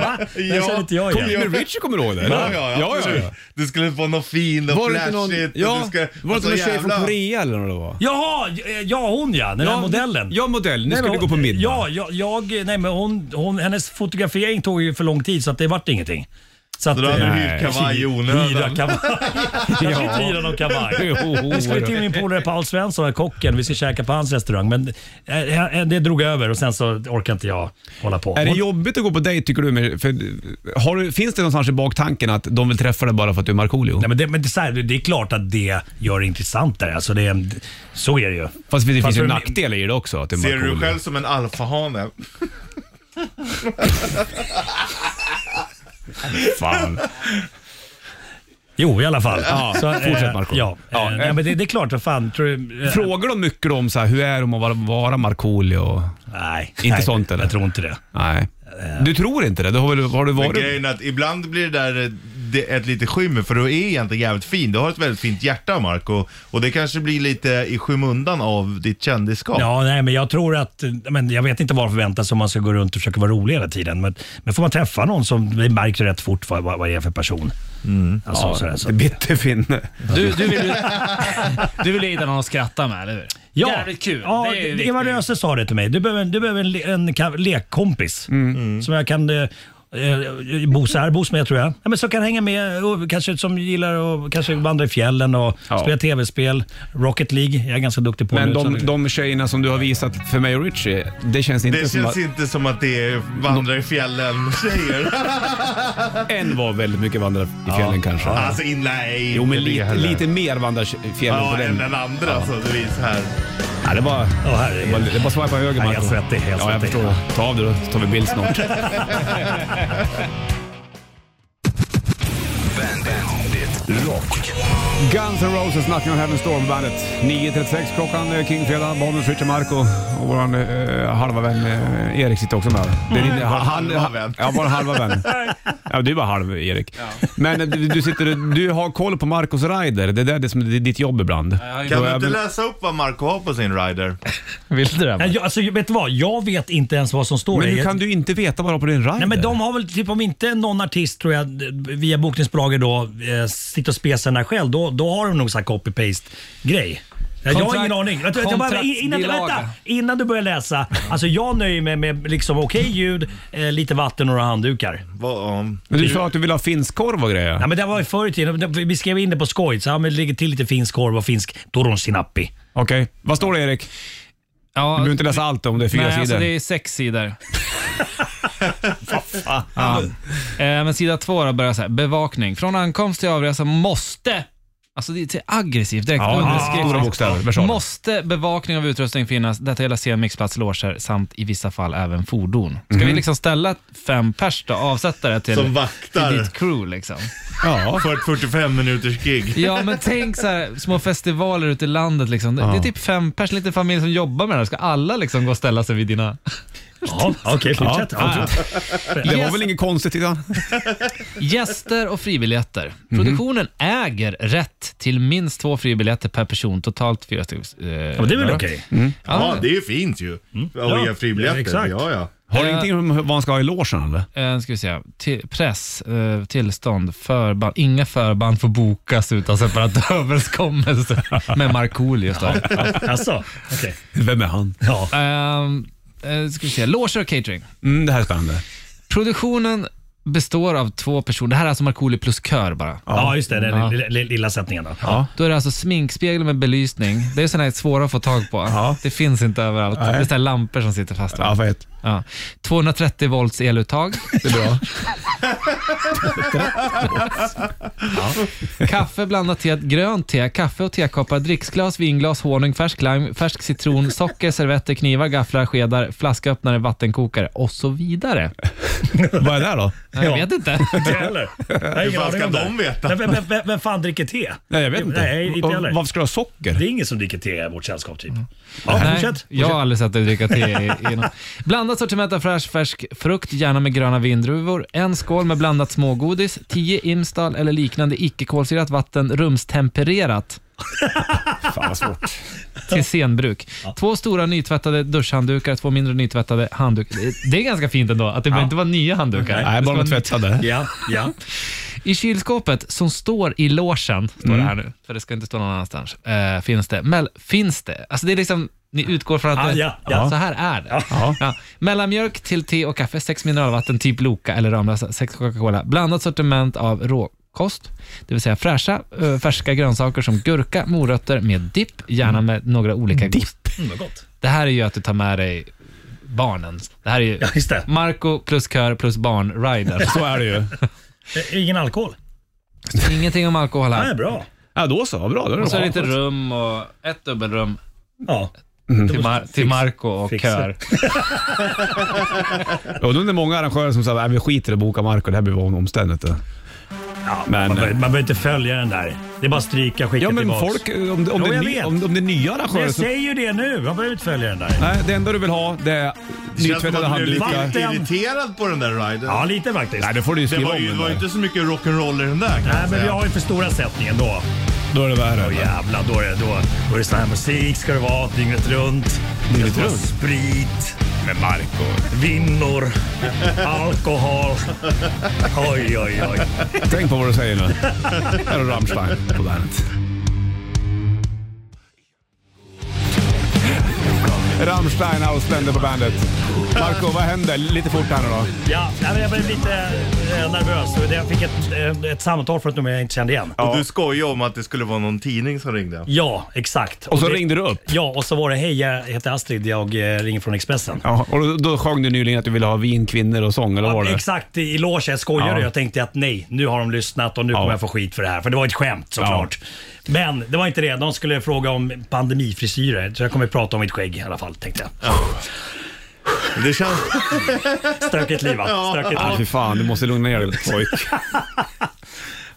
Speaker 8: Va? Det känner inte jag
Speaker 2: Kommer
Speaker 8: igen.
Speaker 2: du med Richie, kommer du ihåg det?
Speaker 3: Ja, ja, ja, absolut. Du skulle få något fint och
Speaker 2: Var det inte
Speaker 3: flashigt.
Speaker 2: någon, ja,
Speaker 3: och du ska,
Speaker 2: var det inte
Speaker 3: alltså,
Speaker 2: någon tjej
Speaker 3: jävla-
Speaker 2: från Korea eller vad det var?
Speaker 8: Jaha, eh, ja hon ja. Den där modellen.
Speaker 2: Ja, modellen. Ni
Speaker 8: Nej, men
Speaker 2: skulle
Speaker 8: hon-
Speaker 2: gå på middag.
Speaker 8: Ja, jag, jag, nej, men hon, hon, hennes fotografering tog ju för lång tid så att det vart ingenting. att,
Speaker 3: Så då hade du
Speaker 8: eh,
Speaker 3: hyrt kavaj i
Speaker 8: Hyra
Speaker 3: onödan.
Speaker 8: kavaj. Jag ska inte hyra någon kavaj.
Speaker 2: Jo.
Speaker 8: Vi skulle till min polare Paul Svensson, kocken. Vi ska käka på hans restaurang. Men eh, eh, det drog över och sen så orkar inte jag hålla på.
Speaker 2: Är det
Speaker 8: Hon-
Speaker 2: jobbigt att gå på dejt tycker du? Med, för, har du? Finns det någonstans i baktanken att de vill träffa dig bara för att du är Markoolio?
Speaker 8: Nej, men det, men det, är så här, det är klart att det gör det intressantare. Alltså det, är- så är det ju.
Speaker 2: Fast det finns ju
Speaker 8: för-
Speaker 2: nackdelar i det också. Att det är
Speaker 3: Ser du dig
Speaker 2: Markoolio.
Speaker 3: själv som en alfahane?
Speaker 2: Fan.
Speaker 8: Jo, i alla fall.
Speaker 2: Ja, fortsätt, Marco.
Speaker 8: Ja,
Speaker 2: Ja,
Speaker 8: eh,
Speaker 2: eh.
Speaker 8: nej, men det, det är klart. Vad fan, tror du, eh,
Speaker 2: Frågar de mycket om så här, hur är de att vara, vara Markoolio?
Speaker 8: Nej.
Speaker 2: Inte
Speaker 8: nej,
Speaker 2: sånt, eller?
Speaker 8: Jag tror inte det.
Speaker 2: Nej. Du tror inte det? det har, väl, har du
Speaker 3: Men
Speaker 2: varit...
Speaker 3: grejen är att ibland blir det där eh, det, ett lite skymmer för du är egentligen jävligt fin. Du har ett väldigt fint hjärta Marco och det kanske blir lite i skymundan av ditt kändisskap.
Speaker 8: Ja, nej, men jag tror att... Men jag vet inte vad det förväntas om man ska gå runt och försöka vara rolig hela tiden. Men, men får man träffa någon som det märks ju rätt fort vad, vad vad det är för person. Alltså, sådär, så.
Speaker 2: Bitterfinne.
Speaker 9: Du, du, vill ju, du vill ju hitta någon att skratta med, eller hur?
Speaker 8: Ja,
Speaker 9: Jävligt kul.
Speaker 8: Ja,
Speaker 9: det är ju
Speaker 8: Eva
Speaker 9: viktigt.
Speaker 8: Röse sa det till mig. Du behöver, du behöver en, le- en ka- lekkompis
Speaker 2: Mm.
Speaker 8: som jag kan eh, eh, bo särbos med tror jag. Ja, men som kan hänga med, och kanske som gillar att kanske vandra i fjällen och
Speaker 2: Ja.
Speaker 8: spela tv-spel. Rocket League jag är ganska duktig på
Speaker 2: Men
Speaker 8: nu.
Speaker 2: de,
Speaker 8: så-
Speaker 2: de tjejerna som du har visat för mig och Richie, det känns inte
Speaker 3: Det
Speaker 2: som
Speaker 3: känns
Speaker 2: att...
Speaker 3: inte som att det är vandra i fjällen-tjejer.
Speaker 2: En var väldigt mycket vandra i fjällen kanske.
Speaker 3: Alltså in, nej.
Speaker 2: Jo, men
Speaker 3: inte det
Speaker 2: lite,
Speaker 3: heller.
Speaker 2: lite mer vandra i fjällen
Speaker 3: Ja,
Speaker 2: på
Speaker 3: än
Speaker 2: den.
Speaker 3: den andra så det är så här.
Speaker 2: Ja, det var...
Speaker 8: Åh,
Speaker 2: Det är bara-
Speaker 8: herregud.
Speaker 2: det är bara att swipa höger,
Speaker 8: Nej,
Speaker 2: Marco.
Speaker 8: jag är svettig, jag är
Speaker 2: Ja, jag förstår.
Speaker 8: svettig.
Speaker 2: det. Ta av dig då, så tar vi bild snart.
Speaker 1: Rock.
Speaker 2: Guns N' Roses, Nothing on Heaven Storm, bandet. 9.36 klockan, eh, Kingfredag, Bonus, Richard Marco och vår eh, halva vän eh, Erik sitter också med. Det är din, han,
Speaker 3: Mm. halva
Speaker 2: han-
Speaker 3: vän.
Speaker 2: Ja, bara halva vän. ja, du är bara halv Erik. Men eh, du, du, sitter, du har koll på Marcos rider, det där är det som är ditt jobb ibland.
Speaker 3: Kan
Speaker 2: Då
Speaker 3: du
Speaker 2: är
Speaker 3: inte
Speaker 2: väl-
Speaker 3: läsa upp vad Marco har på sin rider?
Speaker 9: Vill du det?
Speaker 8: Nej, jag, alltså, vet du vad? Jag vet inte ens vad som står
Speaker 2: Men
Speaker 8: i-
Speaker 2: hur kan du inte veta vad du har på din rider?
Speaker 8: Nej, men de har väl, typ om inte någon artist tror jag via bokningsbolaget då eh, sitter och spesar den här själv, då, då har de nog så här copy-paste grej. Jag har
Speaker 9: Kontrakt-
Speaker 8: ingen aning. Jag, tror- jag bara, innan,
Speaker 9: kontraktsbilaga.
Speaker 8: vänta, innan du börjar läsa. Alltså jag nöjer mig med liksom okej ljud, eh, lite vatten och några handdukar.
Speaker 3: Vad, om-
Speaker 2: Men du sa att du vill ha finskkorv och grejer.
Speaker 8: Ja, men det var ju förr i tiden. Vi skrev in det på skoj. Så ja, men lägger till lite finsk korv och finsk toronsinappi.
Speaker 2: Okej, vad står det Erik? Du
Speaker 9: Ja,
Speaker 2: behöver inte läsa allt om det är fyra
Speaker 9: nej,
Speaker 2: sidor.
Speaker 9: Alltså det är sex sidor. ja. eh, men sida två då börjar så här. Bevakning. Från ankomst till avresa måste Alltså det är till aggressivt direkt.
Speaker 2: Ja,
Speaker 9: underskrift.
Speaker 2: stora bokstäver, versaler.
Speaker 9: Måste bevakning av utrustning finnas. Detta gäller scen, mixplats, loger samt i vissa fall även fordon. Ska
Speaker 2: Mhm.
Speaker 9: vi liksom ställa fem pers då, avsättare till,
Speaker 3: Som
Speaker 9: till
Speaker 3: vaktar.
Speaker 9: ditt crew liksom?
Speaker 2: Ja.
Speaker 3: För ett 45 minuters gig.
Speaker 9: Ja, men tänk så här, små festivaler ute i landet. Liksom. Det, det är typ fem pers, lite familj som jobbar med det här. Ska alla liksom gå och ställa sig vid dina...
Speaker 8: Ja, okej, fortsätt. Ja,
Speaker 2: Ja. Det var väl inget konstigt idag?
Speaker 9: Gäster och fribiljetter. Produktionen äger rätt till minst två fribiljetter per person, totalt fyra stycken. Eh,
Speaker 8: men det är väl okej?
Speaker 3: Ja, det är ju fint ju. Och
Speaker 8: Ja,
Speaker 3: ge fribiljetter.
Speaker 8: ja, exakt.
Speaker 3: Ja, ja.
Speaker 2: Har du
Speaker 9: Eh.
Speaker 2: ingenting om vad man ska ha i logen eller?
Speaker 9: Eh, ska vi se. Till, press, eh, tillstånd, förband. Inga förband får bokas utan separat överenskommelse med Markoolio. står det.
Speaker 8: Alltså, okej.
Speaker 2: Vem är han?
Speaker 8: Ja.
Speaker 9: Ehm, eh, ska vi se. Loger och catering.
Speaker 2: Mm, det här är spännande.
Speaker 9: Produktionen består av två personer. Det här är alltså Markoolio plus kör bara.
Speaker 8: ja, just det. Den lilla, lilla sättningen då. Ja.
Speaker 9: Då är det alltså sminkspegel med belysning. Det är sådana här svåra att få tag på. Det finns inte överallt. Det är sådana här lampor som sitter fast.
Speaker 2: Ja, vad heter
Speaker 9: Ja. 230 volts eluttag.
Speaker 2: det? är bra.
Speaker 9: Kaffe blandat te, grönt te, kaffe och tekoppar, dricksglas, vinglas, honung, färsk lime, färsk citron, socker, servetter, knivar, gafflar, skedar, flasköppnare, vattenkokare och så vidare.
Speaker 2: Vad är det här då?
Speaker 9: Nej, Jag
Speaker 8: Ja.
Speaker 9: vet inte.
Speaker 8: Inte heller. Jag har ingen
Speaker 3: fan
Speaker 8: aning
Speaker 3: ska
Speaker 8: om
Speaker 3: de
Speaker 8: det.
Speaker 3: veta?
Speaker 8: Men Vem, vem, vem, vem fan dricker te?
Speaker 2: Nej, jag vet inte.
Speaker 8: Nej, inte
Speaker 2: Och Mm.
Speaker 8: heller.
Speaker 2: Varför ska du ha
Speaker 8: Det
Speaker 2: socker?
Speaker 8: är ingen som dricker te i vårt sällskap typ. Ja,
Speaker 9: Nej,
Speaker 8: fortsätt.
Speaker 9: jag har aldrig sett dig dricka te. I, i någon. Blandat sortiment av fräsch färsk frukt, gärna med gröna vindruvor. En skål med blandat smågodis, 10 Imstal eller liknande icke-kolsyrat vatten rumstempererat
Speaker 2: Fan vad svårt.
Speaker 9: till senbruk. Två stora nytvättade duschhanddukar, två mindre nytvättade handdukar. Det- Det är ganska fint ändå, att det behöver inte vara nya handdukar. Det
Speaker 2: Nej,
Speaker 9: ska
Speaker 2: bara
Speaker 9: vara
Speaker 2: de tvättade.
Speaker 8: Ja, ja.
Speaker 9: I kylskåpet som står i logen, står det här nu, för det ska inte stå någon annanstans, eh, finns det. Mel- finns det? Alltså det är liksom, ni utgår från att
Speaker 8: Ah,
Speaker 9: det,
Speaker 8: ja, ja.
Speaker 9: så här är det. Ja. Mellanmjölk till te och kaffe, sex mineralvatten, typ Loka eller Ramlösa, sex Coca-Cola. Blandat sortiment av råkost, det vill säga fräscha, eh, färska grönsaker som gurka, morötter med dipp, gärna med några olika dipp.
Speaker 8: Mm, vad gott.
Speaker 9: Det här är ju att du tar med dig barnen. Det här är ju
Speaker 8: Ja, just det.
Speaker 9: Marco plus kör plus barn-rider.
Speaker 2: Så är det ju.
Speaker 8: Eh, Ingen alkohol?
Speaker 9: Ingenting om alkohol här.
Speaker 8: Nej, bra.
Speaker 2: Ja, då så. Vad bra. Då är det
Speaker 9: Och så är det
Speaker 2: bra.
Speaker 9: lite rum och ett dubbelrum
Speaker 8: Ja.
Speaker 2: Mm.
Speaker 9: till, Mar- till Marco och
Speaker 8: fixa.
Speaker 9: kör.
Speaker 2: Och då är det många arrangörer som säger att vi skiter i att boka Marco, det här blir omständigt.
Speaker 8: ja
Speaker 2: Men-
Speaker 8: men, man behöver man behöver inte följa den där. Det är bara stryka, skicka
Speaker 2: Ja, men
Speaker 8: tillbaks.
Speaker 2: folk, om, om,
Speaker 8: Jo,
Speaker 2: det, är
Speaker 8: jag
Speaker 2: ny,
Speaker 8: vet.
Speaker 2: om, om det är nya arrangörer
Speaker 8: Jag
Speaker 2: så...
Speaker 8: säger ju det nu. Man behöver inte följa den där.
Speaker 2: Nej, det enda du vill ha det är
Speaker 3: Det känns som
Speaker 2: nytvättade
Speaker 3: att du blev
Speaker 2: handdukar.
Speaker 8: Vatten.
Speaker 3: lite irriterad på den där riden.
Speaker 8: Ja, lite faktiskt.
Speaker 2: Nej, det får du ju
Speaker 3: Det
Speaker 2: skriva
Speaker 3: var
Speaker 2: om.
Speaker 3: ju, det
Speaker 2: den
Speaker 3: var ju
Speaker 2: där.
Speaker 3: inte så mycket rock'n'roll i den där kan
Speaker 8: Nej,
Speaker 3: jag
Speaker 8: men vi
Speaker 3: säga.
Speaker 8: har ju för stora sättningen då.
Speaker 2: Då är det värre.
Speaker 8: Åh jävlar, då är det, då, då är det sån här musik ska det vara dygnet runt. Dygnet runt? Sprit. Med Marco. Vinnor. Alkohol. Oj, oj, oj.
Speaker 2: Tänk på vad du säger nu. Här har du Rammstein på bandet. Rammstein Ausländer på bandet. Marco, vad händer? Lite fort här nu då.
Speaker 8: Ja, nej, men jag blev lite eh, nervös. och det- Jag fick ett, eh, ett samtal från ett nummer jag inte kände igen.
Speaker 3: Och du skojade om att det skulle vara någon tidning som ringde.
Speaker 8: Ja, exakt.
Speaker 2: Och så ringde du upp.
Speaker 8: Ja, och så var det hej, jag heter Astrid, jag eh, ringer från Expressen.
Speaker 2: Ja, och då, då sjöng du nyligen att du ville ha vin, kvinnor och sång, eller vad var det?
Speaker 8: Exakt, i logen. Jag skojade.
Speaker 2: Ja.
Speaker 8: Jag tänkte att nej, nu har de lyssnat och nu kommer jag få skit för det här. För det var ett skämt såklart. Men det var inte det. De skulle fråga om pandemifrisyrer. Så jag kommer prata om mitt skägg i alla fall, tänkte jag.
Speaker 3: Det känns...
Speaker 8: Stökigt liv va? Stökigt
Speaker 2: Ja, fy
Speaker 8: liv.
Speaker 2: fan. Du måste lugna ner dig, pojk.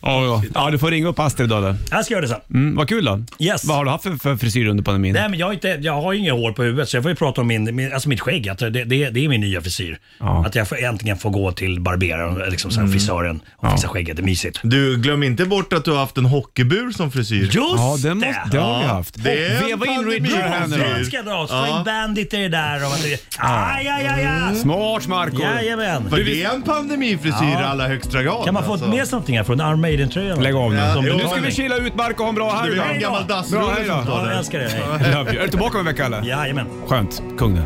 Speaker 2: Ja, ja. ja, du får ringa upp Astrid då. då.
Speaker 8: Jag ska göra det sen.
Speaker 2: Mm, vad kul då.
Speaker 8: Yes.
Speaker 2: Vad har du haft för, för frisyr under pandemin?
Speaker 8: Nej, men jag, har inte, jag har ju inga hår på huvudet så jag får ju prata om min, min, alltså mitt skägg. Att det, det, det är min nya frisyr.
Speaker 2: Ja. Mm.
Speaker 8: Att jag får, äntligen får gå till barberaren, liksom så här, frisören och fixa skägget. Det är mysigt.
Speaker 3: Du, glöm inte bort att du har haft en hockeybur som frisyr.
Speaker 8: Just
Speaker 2: Ja, det, måste, det har vi haft.
Speaker 3: det är en
Speaker 2: Veva in
Speaker 3: pandemi.
Speaker 2: Richard här nu
Speaker 8: Den
Speaker 2: då.
Speaker 8: ska dras. String Bandit är det där och... Aj, aj, aj,
Speaker 2: Mm.
Speaker 8: aj.
Speaker 2: Smart Marco.
Speaker 8: Jajamän.
Speaker 3: För det är en pandemifrisyr i allra högsta grad.
Speaker 8: Kan man få
Speaker 3: alltså.
Speaker 8: med sig någonting här från Iron Maiden-tröjan?
Speaker 2: Lägg av nu.
Speaker 3: Ja,
Speaker 2: nu
Speaker 3: jo.
Speaker 2: ska vi chilla ut Marco ha en bra
Speaker 3: Du,
Speaker 2: helg.
Speaker 3: vi har
Speaker 2: då.
Speaker 3: en gammal
Speaker 2: Bra, hej
Speaker 3: dassrulle
Speaker 2: då.
Speaker 3: som
Speaker 8: Ja,
Speaker 3: tar
Speaker 8: jag
Speaker 3: det.
Speaker 8: älskar det. Hej.
Speaker 2: Love you. Är du tillbaka om en vecka eller?
Speaker 8: Jajamän.
Speaker 2: Skönt. Kung det.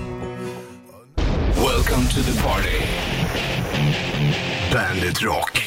Speaker 1: Welcome to the party. Bandit Rock.